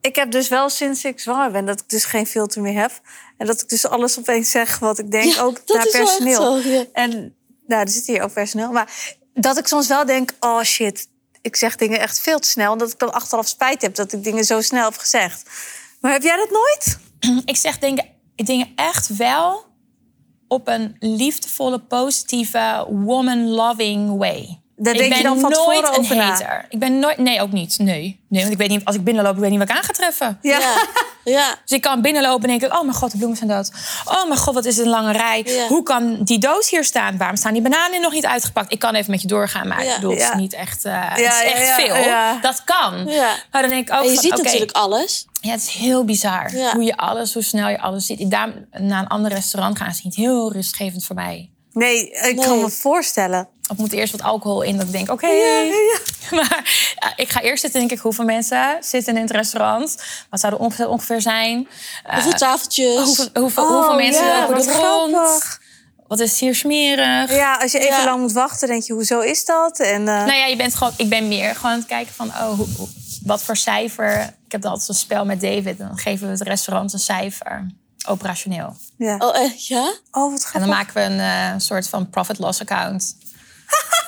Ik heb dus wel sinds ik zwanger ben dat ik dus geen filter meer heb. En dat ik dus alles opeens zeg wat ik denk, Ja, ook dat naar is wel echt personeel. zo, ja. En nou, er zit hier ook personeel. Maar dat ik soms wel denk, oh shit, ik zeg dingen echt veel te snel. Omdat ik dan achteraf spijt heb dat ik dingen zo snel heb gezegd. Maar heb jij dat nooit? Ik zeg dingen, dingen echt wel op een liefdevolle, positieve, woman-loving way. Daar ik denk je ben dan van nooit tevoren een over na. hater. Ik ben nooit... Nee, ook niet. Nee. nee. Want ik weet niet, als ik binnenloop, ik weet niet wat ik aan ga treffen. Ja. Ja. ja. Dus ik kan binnenlopen en denk ik, oh mijn god, de bloemen zijn dood. Oh mijn god, wat is het een lange rij. Ja. Hoe kan die doos hier staan? Waarom staan die bananen nog niet uitgepakt? Ik kan even met je doorgaan, maar Ja. ik bedoel, het Ja. is niet echt, eh, het Ja, is ja, echt ja, veel. ja. Dat kan. Ja. Maar dan denk ik ook En je van, ziet oké, natuurlijk alles. ja, het is heel bizar. Ja. Hoe je alles, hoe snel je alles ziet. Ik Daar naar een ander restaurant gaan is niet heel rustgevend voor mij. Nee, ik Nee. kan me voorstellen. Of moet eerst wat alcohol in, dat ik denk, oké. ja. Maar ja, ik ga eerst zitten, denk ik, hoeveel mensen zitten in het restaurant? Wat zou er onge- ongeveer zijn? Eh, Hoeveel tafeltjes. Hoeveel, hoeveel, hoeveel mensen Oh, ja, lopen wat er rond? grappig. Wat is hier smerig? Ja, als je even Ja. lang moet wachten, denk je, hoezo is dat? En, eh, Nou ja, je bent gewoon, ik ben meer gewoon aan het kijken van, oh, hoe- hoe- wat voor cijfer. Ik heb altijd een spel met David. Dan geven we het restaurant een cijfer. Operationeel. ja. Oh, eh, ja? Oh, wat En grappig. dan maken we een eh, soort van profit-loss account.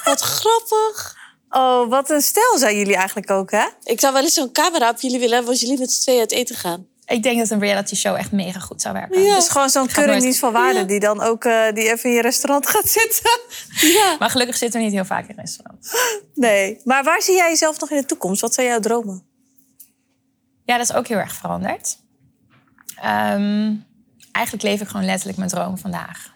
Wat grappig. Oh, wat een stijl zijn jullie eigenlijk ook, hè? Ik zou wel eens zo'n camera op jullie willen hebben als jullie met z'n tweeën uit eten gaan. Ik denk dat een reality show echt mega goed zou werken. Ja. Dus gewoon zo'n Gaat nooit- keuringsdienst van waarde die dan ook eh, die even in je restaurant gaat zitten. Ja. Maar gelukkig zitten we niet heel vaak in restaurants. Nee. Maar waar zie jij jezelf nog in de toekomst? Wat zijn jouw dromen? Ja, dat is ook heel erg veranderd. Ehm, eigenlijk leef ik gewoon letterlijk mijn droom vandaag.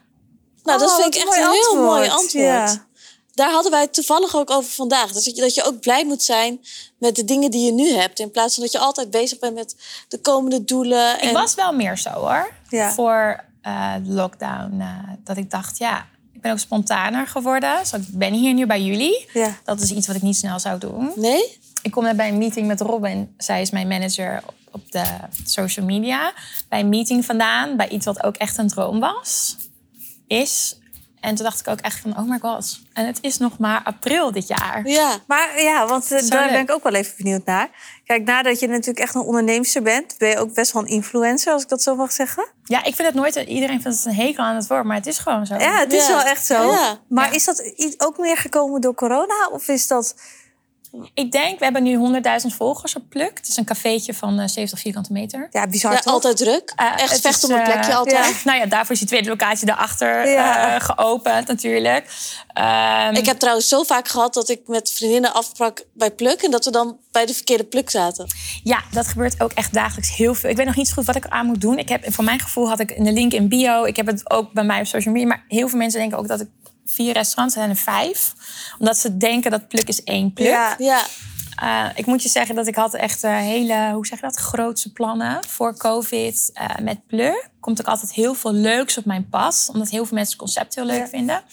Nou, dat Oh, vind wat ik een echt een mooi heel antwoord. mooi antwoord. Ja. Daar hadden wij het toevallig ook over vandaag. Dus dat je, dat je ook blij moet zijn met de dingen die je nu hebt. In plaats van dat je altijd bezig bent met de komende doelen. En... Ik was wel meer zo hoor. Ja. Voor eh, de lockdown. eh, dat ik dacht, ja, ik ben ook spontaner geworden. Zo, ik ben hier nu bij jullie. Ja. Dat is iets wat ik niet snel zou doen. Nee? Ik kom net bij een meeting met Robin. Zij is mijn manager op- op de social media. Bij een meeting vandaan, bij iets wat ook echt een droom was. Is, En toen dacht ik ook echt van, oh my god. En het is nog maar april dit jaar. Ja. Maar ja, want eh, Zo daar leuk. ben ik ook wel even benieuwd naar. Kijk, nadat je natuurlijk echt een onderneemster bent, ben je ook best wel een influencer, als ik dat zo mag zeggen. Ja, ik vind het nooit... Iedereen vindt het een hekel aan het woord, maar het is gewoon zo. Ja, het is Ja. wel echt zo. Ja. Maar Ja. is dat i- ook meer gekomen door corona? Of is dat. Ik denk, we hebben nu 100.000 volgers op Pluk. Het is een cafeetje van eh, 70 vierkante meter. Ja, bizar Ja, toch? altijd druk. Ah, Eh, Echt het vecht is, om een eh, plekje altijd. ja. Nou ja, daarvoor is die tweede locatie daarachter Ja. eh, geopend natuurlijk. Ehm, Ik heb trouwens zo vaak gehad dat ik met vriendinnen afsprak bij pluk en dat we dan bij de verkeerde pluk zaten. Ja, dat gebeurt ook echt dagelijks heel veel. Ik weet nog niet zo goed wat ik eraan moet doen. Ik heb, voor mijn gevoel had ik een link in bio. Ik heb het ook bij mij op social media. Maar heel veel mensen denken ook dat ik vier restaurants zijn en vijf. Omdat ze denken dat pluk is één pluk. Ja. Ja, Eh, ik moet je zeggen dat ik had echt eh, hele, hoe zeg je dat, grootse plannen voor COVID eh, met Pleur. Komt ook altijd heel veel leuks op mijn pas, omdat heel veel mensen het concept heel leuk vinden.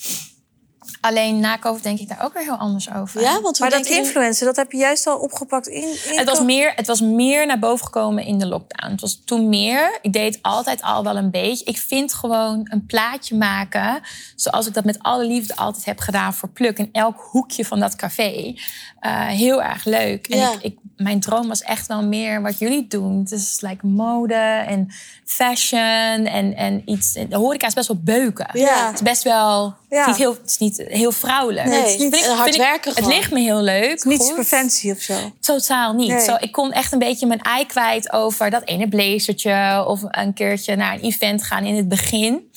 Alleen na COVID denk ik daar ook weer heel anders over. ja want hoe Maar dat denken jullie- influencer, dat heb je juist al opgepakt in. in Het was, meer, het was meer naar boven gekomen in de lockdown. Het was toen meer. Ik deed het altijd al wel een beetje. Ik vind gewoon een plaatje maken. Zoals ik dat met alle liefde altijd heb gedaan voor Pluk. In elk hoekje van dat café. eh, heel erg leuk. En Ja. ik, ik, mijn droom was echt wel meer wat jullie doen. Dus like mode en fashion en, en iets. De horeca is best wel beuken. Ja. Het is best wel. Ja. Het, is niet heel, het is niet heel vrouwelijk. Nee, het is niet- en Vind ik- hard vind ik- werken Het gewoon. ligt me heel leuk. Niet goed. super fancy of zo. Totaal niet. Nee. Zo, ik kon echt een beetje mijn ei kwijt over dat ene blazertje. Of een keertje naar een event gaan in het begin.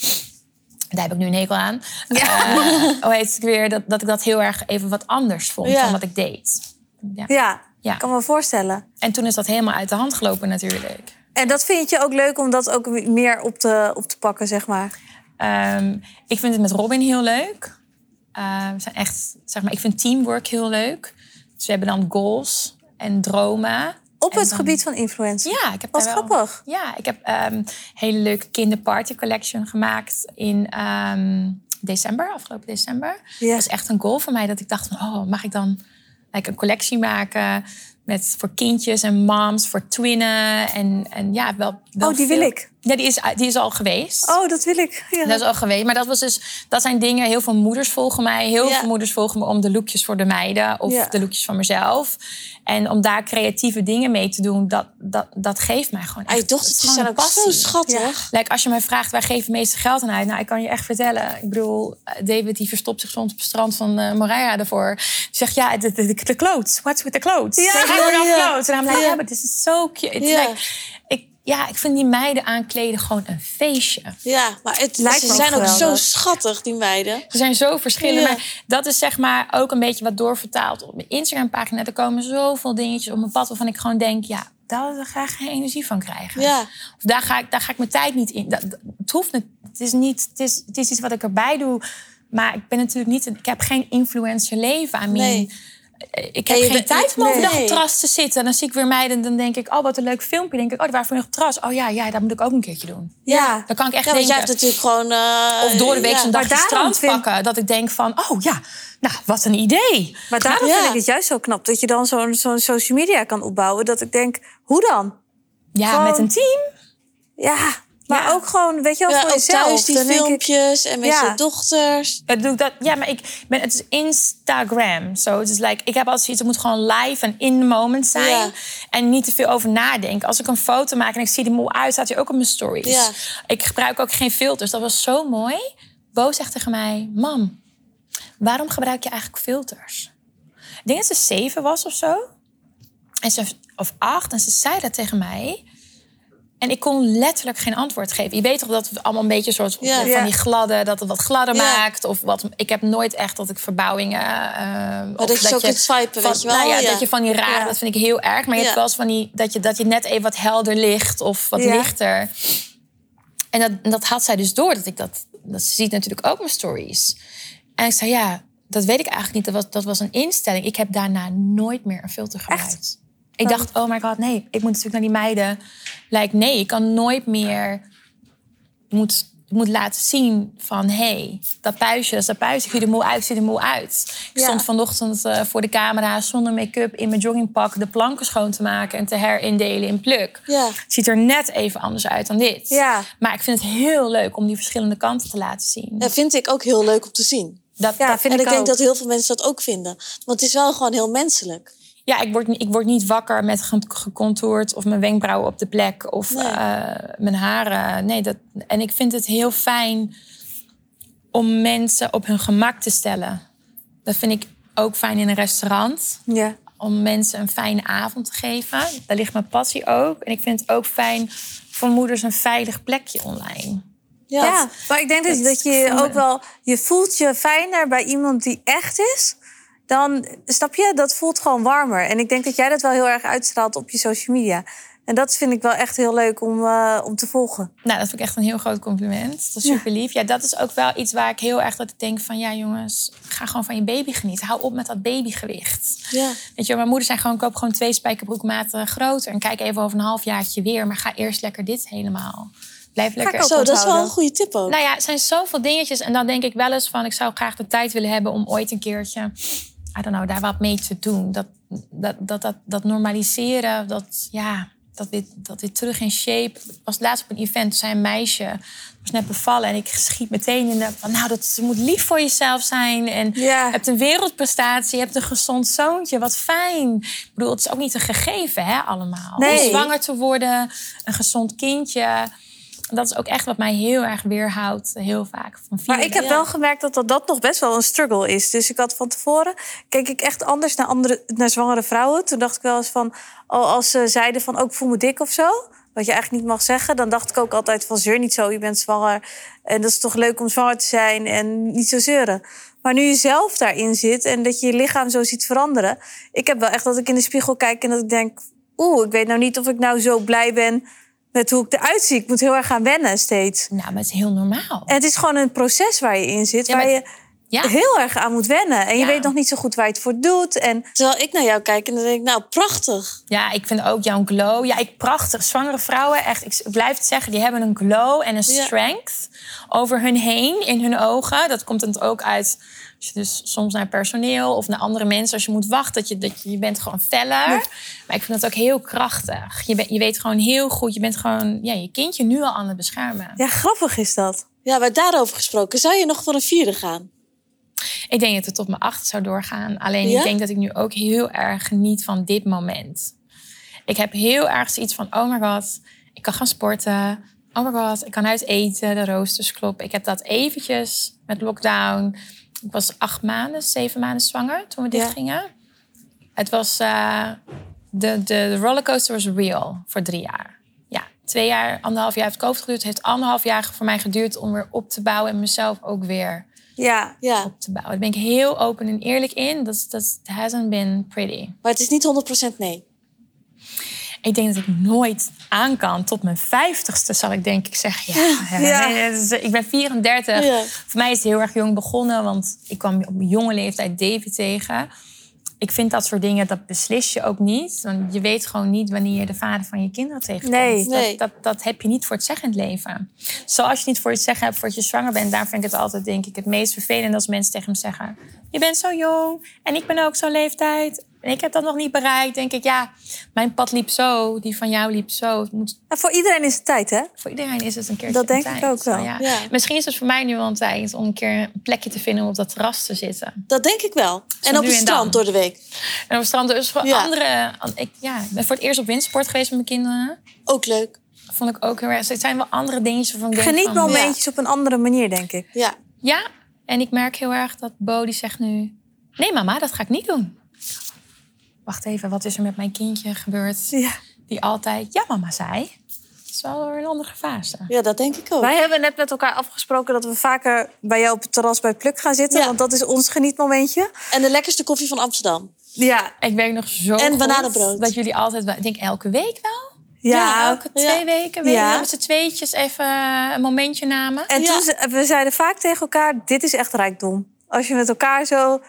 Daar heb ik nu een hekel aan. Eh, hoe heet het weer? Dat, dat ik dat heel erg even wat anders vond Ja. dan wat ik deed. Ja. Ja, Ja. kan me voorstellen. En toen is dat helemaal uit de hand gelopen natuurlijk. En dat vind je ook leuk om dat ook meer op te, op te pakken, zeg maar. Ehm, ik vind het met Robin heel leuk. Ehm, we zijn echt, zeg maar, ik vind teamwork heel leuk. Dus we hebben dan goals en dromen. Op En het dan- gebied van influencer. Dus Ja, ik heb Wat daar wel- grappig. Ja, ik heb ehm, een hele leuke kinderparty collection gemaakt in ehm, december, afgelopen december. Ja. Dat was echt een goal voor mij dat ik dacht van, oh, mag ik dan like, een collectie maken met voor kindjes en moms, voor twinnen en, en ja, wel, wel Oh, die wil veel- ik. Ja, die is, die is al geweest. Oh, dat wil ik. Ja. Dat is al geweest. Maar dat, was dus, dat zijn dingen. Heel veel moeders volgen mij. Heel Ja. veel moeders volgen me om de lookjes voor de meiden. Of Ja. de lookjes van mezelf. En om daar creatieve dingen mee te doen. Dat, dat, dat geeft mij gewoon Ah, echt... je dochtertjes het is zijn ook gewoon een zo passie. schattig. Like, als je mij vraagt, waar geef je het meeste geld aan uit? Nou, ik kan je echt vertellen. Ik bedoel, eh, David die verstopt zich soms op het strand van eh Moreira ervoor. Die zegt, ja, de, de, de clothes. What's with the clothes? Ja, They have ja, enough ja. clothes. En I'm like, Ja. yeah, but this is so cute. It's Ja. like, ik, ja, ik vind die meiden aankleden gewoon een feestje. Ja, maar het, Lijkt ze me ook zijn ook zo geweldig. schattig, die meiden. Ze zijn zo verschillend. Ja. Maar dat is zeg maar ook een beetje wat doorvertaald op mijn Instagram-pagina. Er komen zoveel dingetjes op mijn pad waarvan ik gewoon denk... ja, daar wil ik graag geen energie van krijgen. Ja. Of daar ga, ik, daar ga ik mijn tijd niet in. Dat, dat- het hoeft niet. Het is, niet het, is, het is iets wat ik erbij doe. Maar ik ben natuurlijk niet... een- Ik heb geen influencer leven. I mean, Nee. eh, En Ik heb je geen bent tijd niet- om overdag op nee. het terras te zitten. En dan zie ik weer meiden en dan denk ik... oh, wat een leuk filmpje. denk ik, oh, die waren vanmiddag op het terras. Oh ja, ja, dat moet ik ook een keertje doen. Ja. Dan kan ik echt Ja, want jij denken... hebt natuurlijk gewoon... eh, Of door de week ja. zo'n maar dagje daarom strand vind- pakken. Dat ik denk van, oh ja, nou, wat een idee. Maar daarom Ja. vind ik het juist zo knap dat je dan zo'n zo'n social media kan opbouwen. Dat ik denk, hoe dan? Ja, Gewoon- met een team. Ja, maar Ja. ook gewoon, weet je wel, Ja, voor ook jezelf. thuis die Dan denk ik, filmpjes en met Ja. zijn dochters. Dat Eh, doe ik dat. Ja, maar ik ben, het is Instagram. Zo, het is like, ik heb altijd zoiets, het moet gewoon live en in the moment zijn. Ja. En niet te veel over nadenken. Als ik een foto maak en ik zie die moe uit, staat hij ook op mijn stories. Ja. Ik gebruik ook geen filters. Dat was zo mooi. Bo zegt tegen mij, mam, waarom gebruik je eigenlijk filters? Ik denk dat ze zeven was of zo. En ze, of acht. En ze zei dat tegen mij. En ik kon letterlijk geen antwoord geven. Je weet toch dat we allemaal een beetje een soort Ja. van Ja. die gladde, dat het wat gladder Ja. maakt. Of wat, ik heb nooit echt dat ik verbouwingen. eh of dat je zo kunt swipen, van- weet je wel, Nou ja, ja. dat je van die rare, Ja. dat vind ik heel erg. Maar je Ja. hebt wel eens van die, dat je, dat je net even wat helder ligt of wat Ja. lichter. En dat, en dat had zij dus door, dat ik dat, dat ze ziet natuurlijk ook mijn stories. En ik zei, ja, dat weet ik eigenlijk niet. Dat was, dat was een instelling. Ik heb daarna nooit meer een filter gebruikt. Ik dacht, oh my god, nee, ik moet natuurlijk naar die meiden. Like, nee, ik kan nooit meer... Moet moet laten zien van... hé, hey, dat puistje, dat is dat puistje. Ik zie er moe uit, ik zie er moe uit. Ik Ja. stond vanochtend eh, voor de camera zonder make-up in mijn joggingpak... de planken schoon te maken en te herindelen in pluk. Ja. Het ziet er net even anders uit dan dit. Ja. Maar ik vind het heel leuk om die verschillende kanten te laten zien. Dat vind ik ook heel leuk om te zien. Dat, Ja, dat vind en ik, ik denk ook. dat heel veel mensen dat ook vinden. Want het is wel gewoon heel menselijk. Ja, ik word, ni- ik word niet wakker met ge- gecontourd of mijn wenkbrauwen op de plek of Nee. eh, mijn haren. Nee, dat, en ik vind het heel fijn om mensen op hun gemak te stellen. Dat vind ik ook fijn in een restaurant. Ja. Om mensen een fijne avond te geven. Daar ligt mijn passie ook. En ik vind het ook fijn voor moeders een veilig plekje online. Ja. ja, maar ik denk dat, dat dat je voelen. ook wel... Je voelt je fijner bij iemand die echt is... Dan, snap je, dat voelt gewoon warmer. En ik denk dat jij dat wel heel erg uitstraalt op je social media. En dat vind ik wel echt heel leuk om, eh, om te volgen. Nou, dat vind ik echt een heel groot compliment. Dat is super lief. Ja, dat is ook wel iets waar ik heel erg dat ik denk van... ja jongens, ga gewoon van je baby genieten. Hou op met dat babygewicht. Ja. Weet je, wel, mijn moeder zei gewoon... koop gewoon twee spijkerbroekmaten groter... en kijk even over een halfjaartje weer. Maar ga eerst lekker dit helemaal. Blijf lekker... ik ook Zo, dat is wel onthouden. een goede tip ook. Nou ja, het zijn zoveel dingetjes. En dan denk ik wel eens van... ik zou graag de tijd willen hebben om ooit een keertje... I don't know, daar wat mee te doen. Dat, dat, dat, dat, dat normaliseren, dat, ja, dat, weer, dat weer terug in shape. Ik was laatst op een event, toen zei een meisje... was net bevallen en ik schiet meteen in de... Van, nou, dat je moet lief voor jezelf zijn. En Ja. je hebt een wereldprestatie, je hebt een gezond zoontje. Wat fijn. Ik bedoel, het is ook niet een gegeven, hè, allemaal. Nee. Om zwanger te worden, een gezond kindje. Dat is ook echt wat mij heel erg weerhoudt, heel vaak. Van Maar vieren. ik heb wel gemerkt dat, dat dat nog best wel een struggle is. Dus ik had van tevoren... keek ik echt anders naar, andere, naar zwangere vrouwen. Toen dacht ik wel eens van... Oh, als ze zeiden van, ook ik voel me dik of zo... wat je eigenlijk niet mag zeggen... dan dacht ik ook altijd van, zeur niet zo, je bent zwanger. En dat is toch leuk om zwanger te zijn en niet zo zeuren. Maar nu je zelf daarin zit en dat je je lichaam zo ziet veranderen... ik heb wel echt dat ik in de spiegel kijk en dat ik denk... oeh, ik weet nou niet of ik nou zo blij ben met hoe ik eruit zie. Ik moet heel erg gaan wennen steeds. Nou, maar het is heel normaal. En het is gewoon een proces waar je in zit, Ja, maar- waar je Ja. heel erg aan moet wennen. En je Ja. weet nog niet zo goed waar je het voor doet. En Terwijl ik naar jou kijk en dan denk ik, nou, prachtig. Ja, ik vind ook jouw glow. Ja, ik prachtig. Zwangere vrouwen, echt, ik blijf het zeggen, die hebben een glow en een Ja. strength over hun heen, in hun ogen. Dat komt dan ook uit, als je dus soms naar personeel of naar andere mensen, als je moet wachten, dat je, dat je, je bent gewoon feller. Maar ik vind dat ook heel krachtig. Je, bent je weet gewoon heel goed, je bent gewoon ja, je kindje nu al aan het beschermen. ja, grappig is dat. Ja, maar daarover gesproken, zou je nog voor een vierde gaan? Ik denk dat het tot mijn acht zou doorgaan. Alleen Ja? ik denk dat ik nu ook heel erg geniet van dit moment. Ik heb heel erg zoiets van, oh my god, ik kan gaan sporten. Oh my god, ik kan uit eten, de roosters kloppen. Ik heb dat eventjes met lockdown. Ik was acht maanden, zeven maanden zwanger toen we Ja. dit gingen. Het was, eh, de, de, de rollercoaster was real voor drie jaar. Ja, twee jaar, anderhalf jaar heeft COVID geduurd. Het heeft anderhalf jaar voor mij geduurd om weer op te bouwen en mezelf ook weer Ja, Ja, op te bouwen. Daar ben ik heel open en eerlijk in. Dat is- dat is- it hasn't been pretty. maar het is niet 100% nee. Ik denk dat ik nooit aan kan. Tot mijn vijftigste zal ik denk ik zeggen. Ja, Ja. nee, dat is- ik ben 34. Ja. Voor mij is het heel erg jong begonnen. Want ik kwam op jonge leeftijd David tegen. Ik vind dat soort dingen, dat beslis je ook niet. Want je weet gewoon niet wanneer je de vader van je kinderen tegenkomt. Nee. Nee. Dat, dat, dat heb je niet voor het zeggen in het leven. Zoals je niet voor het zeggen hebt voordat je zwanger bent. Daar vind ik het altijd denk ik het meest vervelend als mensen tegen hem zeggen... je bent zo jong en ik ben ook zo'n leeftijd. En ik heb dat nog niet bereikt. denk ik, ja, mijn pad liep zo, die van jou liep zo. Het moet, en voor iedereen is het tijd, hè? voor iedereen is het een keer Dat denk ik ook wel, ja. Misschien is het voor mij nu wel een tijd om een keer een plekje te vinden om op dat terras te zitten. Dat denk ik wel. En op nu het en dan. strand door de week. En op het strand dus voor Ja. andere... Ik ja, ik ben voor het eerst op windsport geweest met mijn kinderen. Ook leuk. Vond ik ook heel erg. Het zijn wel andere dingetjes waarvan ik denk van, Genietmomentjes op een andere manier, denk ik. Ja. Ja, en ik merk heel erg dat Bo die zegt nu... Nee mama, dat ga ik niet doen. Wacht even, wat is er met mijn kindje gebeurd? Ja. Die altijd, ja mama zei. Dat is wel weer een andere fase. ja, dat denk ik ook. Wij hebben net met elkaar afgesproken dat we vaker bij jou op het terras bij Pluk gaan zitten. Ja. Want dat is ons genietmomentje. En de lekkerste koffie van Amsterdam. Ja, Ik weet nog zo En goed bananenbrood. dat jullie altijd... wel- Ik denk elke week wel. ja. elke twee Ja. weken. Weet je Ja. wel, met z'n tweetjes even een momentje namen. En Ja. toen ze- we zeiden vaak tegen elkaar, dit is echt rijkdom. Als je met elkaar zo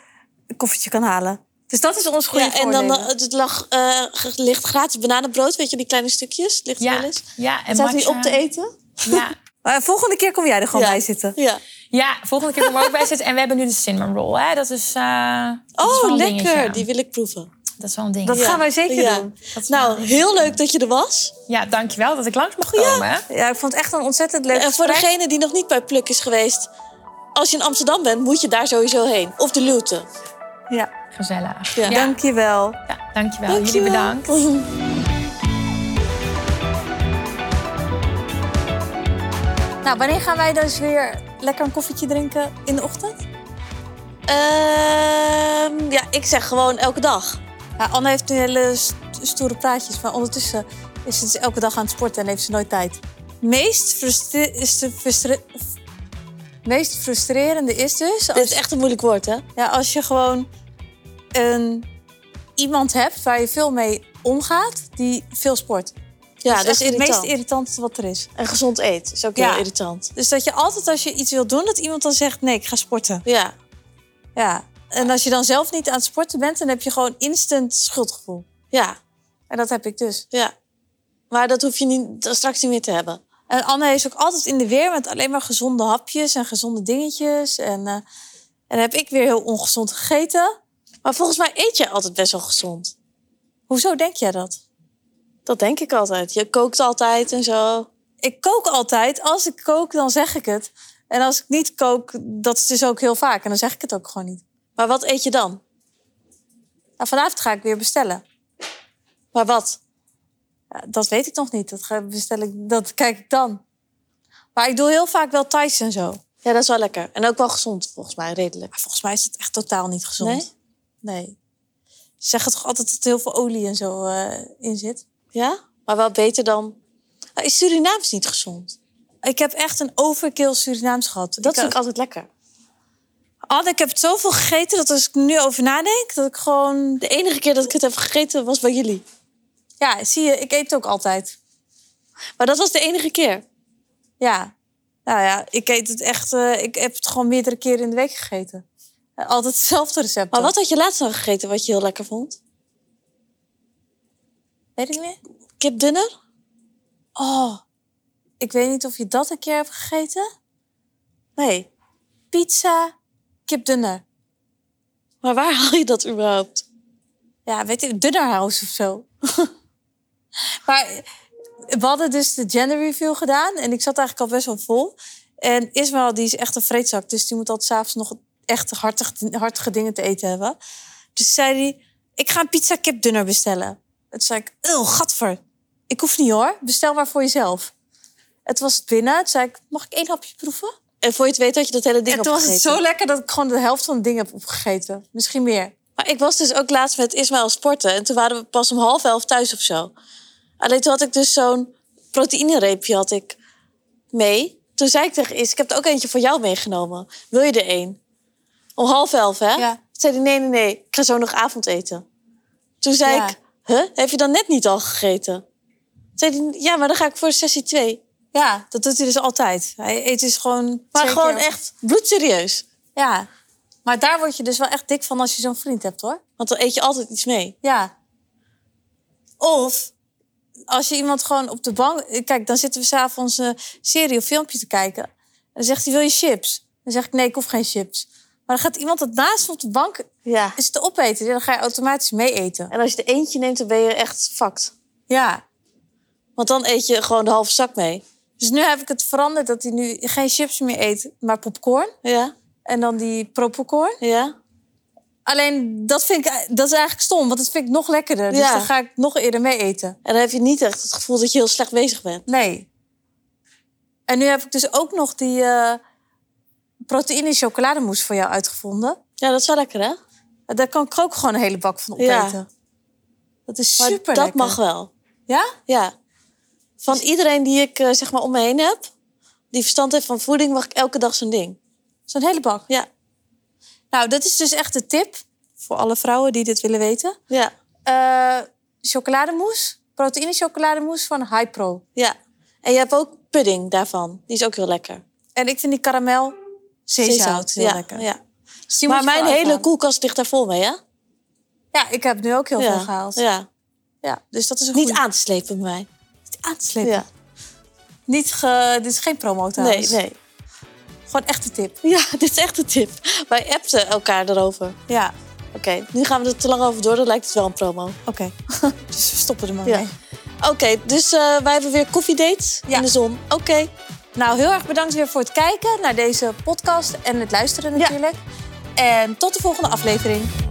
een koffietje kan halen. Dus dat is ons goede Ja, en dan voordelen. eh, het lag, eh, ge- ligt gratis bananenbrood, weet je, die kleine stukjes. Ligt er ja, wel eens. ja, en En staat nu matcha. op te eten. Ja, Maar volgende keer kom jij er gewoon Ja. bij zitten. Ja. Ja, volgende keer komen we ook bij zitten. En we hebben nu de cinnamon roll. Hè? Dat is, eh, dat is wel Oh, een lekker. dingetje. Die wil ik proeven. Dat is wel een ding. Dat Ja. gaan wij zeker Ja. doen. Dat- Nou, heel leuk dat je er was. Ja, dankjewel dat ik langs mag komen. Ja, ik vond het echt een ontzettend leuk En voor gesprek. degene die nog niet bij Pluk is geweest... als je in Amsterdam bent, moet je daar sowieso heen. Of de Nou, Luwte. Ja, Gezellig. Ja. dankjewel. ja, dankjewel. Dank je wel. Jullie bedankt. Nou, wanneer gaan wij dus weer lekker een koffietje drinken in de ochtend? Ehm, ja, ik zeg gewoon elke dag. Ja, Anne heeft nu hele st- stoere praatjes, maar ondertussen is ze dus elke dag aan het sporten en heeft ze nooit tijd. Meest, frustre- is de frustre- f- meest frustrerende is dus Dit als, is echt een moeilijk woord, hè? ja, als je gewoon een, iemand hebt waar je veel mee omgaat die veel sport. Ja, dat is echt het meest irritant. irritantste wat er is. En gezond eten is ook Ja. heel irritant. Dus dat je altijd als je iets wil doen, dat iemand dan zegt nee, ik ga sporten. Ja, Ja. En als je dan zelf niet aan het sporten bent, dan heb je gewoon instant schuldgevoel. ja, En dat heb ik dus. ja. Maar dat hoef je niet, dat straks niet meer te hebben. En Anne is ook altijd in de weer met alleen maar gezonde hapjes en gezonde dingetjes. En, eh, en dan heb ik weer heel ongezond gegeten. Maar volgens mij eet je altijd best wel gezond. Hoezo denk jij dat? Dat denk ik altijd. Je kookt altijd en zo. Ik kook altijd. Als ik kook, dan zeg ik het. En als ik niet kook, dat is dus ook heel vaak. En dan zeg ik het ook gewoon niet. Maar wat eet je dan? Nou, vanavond ga ik weer bestellen. Maar wat? Ja, dat weet ik nog niet. Dat, ga, bestel ik, dat kijk ik dan. Maar ik doe heel vaak wel Thais en zo. Ja, dat is wel lekker. En ook wel gezond, volgens mij, redelijk. Maar volgens mij is dat echt totaal niet gezond. Nee? Nee. Ze zeggen toch altijd dat er heel veel olie en zo eh, in zit. Ja? Maar wel beter dan... Ah, Is Surinaams niet gezond? Ik heb echt een overkill Surinaams gehad. Dat ik, eh, vind ik altijd lekker. Anne, ik heb het zoveel gegeten dat als ik nu over nadenk, dat ik gewoon... De enige keer dat ik het heb gegeten was bij jullie. Ja, zie je, ik eet ook altijd. Maar dat was de enige keer. Ja. Nou ja, ik eet het echt... eh, ik heb het gewoon meerdere keren in de week gegeten. Eh, altijd hetzelfde recept. Maar wat had je laatst dan gegeten wat je heel lekker vond? Weet ik niet. Kipdinner? Oh, ik weet niet of je dat een keer hebt gegeten. Nee. Pizza, kipdunner. Maar waar haal je dat überhaupt? ja, weet ik, Dunnerhouse of zo. maar we hadden dus de gender review gedaan en ik zat eigenlijk al best wel vol. En Ismaël, die is echt een vreedzak, dus die moet altijd s'avonds nog echt hartig, hartige dingen te eten hebben. Dus zei hij, ik ga een pizza kip dunner bestellen. En toen zei ik, oh, gadver. Ik hoef niet hoor, bestel maar voor jezelf. Het was binnen, toen zei ik, mag ik één hapje proeven? En voor je het weet had je dat hele ding En toen was het opgegeten. zo lekker dat ik gewoon de helft van het ding heb opgegeten. Misschien meer. Maar ik was dus ook laatst met Ismaël sporten. En toen waren we pas om half elf thuis of zo. Alleen toen had ik dus zo'n proteïnereepje had ik mee. Toen zei ik tegen Is, ik heb er ook eentje voor jou meegenomen. Wil je er één? Om half elf, hè? Ja. Toen zei hij, nee, nee, nee. Ik ga zo nog avondeten. Toen zei Ja. ik, huh? Heb je dan net niet al gegeten? Toen zei hij, ja, maar dan ga ik voor sessie twee. Ja, dat doet hij dus altijd. Hij eet dus gewoon... Maar twee gewoon keer- echt bloedserieus. Ja. Maar daar word je dus wel echt dik van als je zo'n vriend hebt, hoor. Want dan eet je altijd iets mee. Ja. Of als je iemand gewoon op de bank... Kijk, dan zitten we s'avonds een serie of filmpje te kijken. En dan zegt hij, wil je chips? Dan zeg ik, nee, ik hoef geen chips. Maar dan gaat iemand dat naast me op de bank Ja. is te opeten. Dan ga je automatisch mee eten. En als je er eentje neemt, dan ben je echt fucked. Ja. Want dan eet je gewoon de halve zak mee. Dus nu heb ik het veranderd dat hij nu geen chips meer eet, maar popcorn. Ja, En dan die propopcorn. ja. Alleen dat vind ik dat is eigenlijk stom, want dat vind ik nog lekkerder. Dus Ja. dan ga ik nog eerder mee eten. En dan heb je niet echt het gevoel dat je heel slecht bezig bent. Nee. En nu heb ik dus ook nog die eh proteïne chocolademousse voor jou uitgevonden. Ja, dat is wel lekker, hè? Daar kan ik ook gewoon een hele bak van opeten. Ja. Dat is Maar super dat lekker. mag wel. Ja? Ja. Van iedereen die ik eh, zeg maar om me heen heb, die verstand heeft van voeding, mag ik elke dag zo'n ding. Zo'n hele bak. Ja, Nou, dat is dus echt de tip voor alle vrouwen die dit willen weten. ja, Eh chocolademousse, proteïne chocolademousse van Hypro. ja. En je hebt ook pudding daarvan. Die is ook heel lekker. En ik vind die karamel zeezout heel ja, lekker. Ja. Dus die Maar moet je mijn wel hele uitgaan. koelkast ligt daar vol mee, hè? Ja, ik heb nu ook heel ja. veel gehaald. Ja. Ja, dus dat is een Niet goeie. aan te slepen bij mij. aan te slepen. Ja. Niet ge, dit is geen promo Nee, trouwens. nee. Gewoon echte tip. Ja, dit is echt een tip. Wij appten elkaar erover. Ja, Oké, nu gaan we er te lang over door. Dan lijkt het wel een promo. oké. dus we stoppen er maar Ja. mee. Oké, dus eh, wij hebben weer koffiedates Ja. in de zon. Oké, Nou, heel erg bedankt weer voor het kijken naar deze podcast en het luisteren natuurlijk. En tot de volgende aflevering.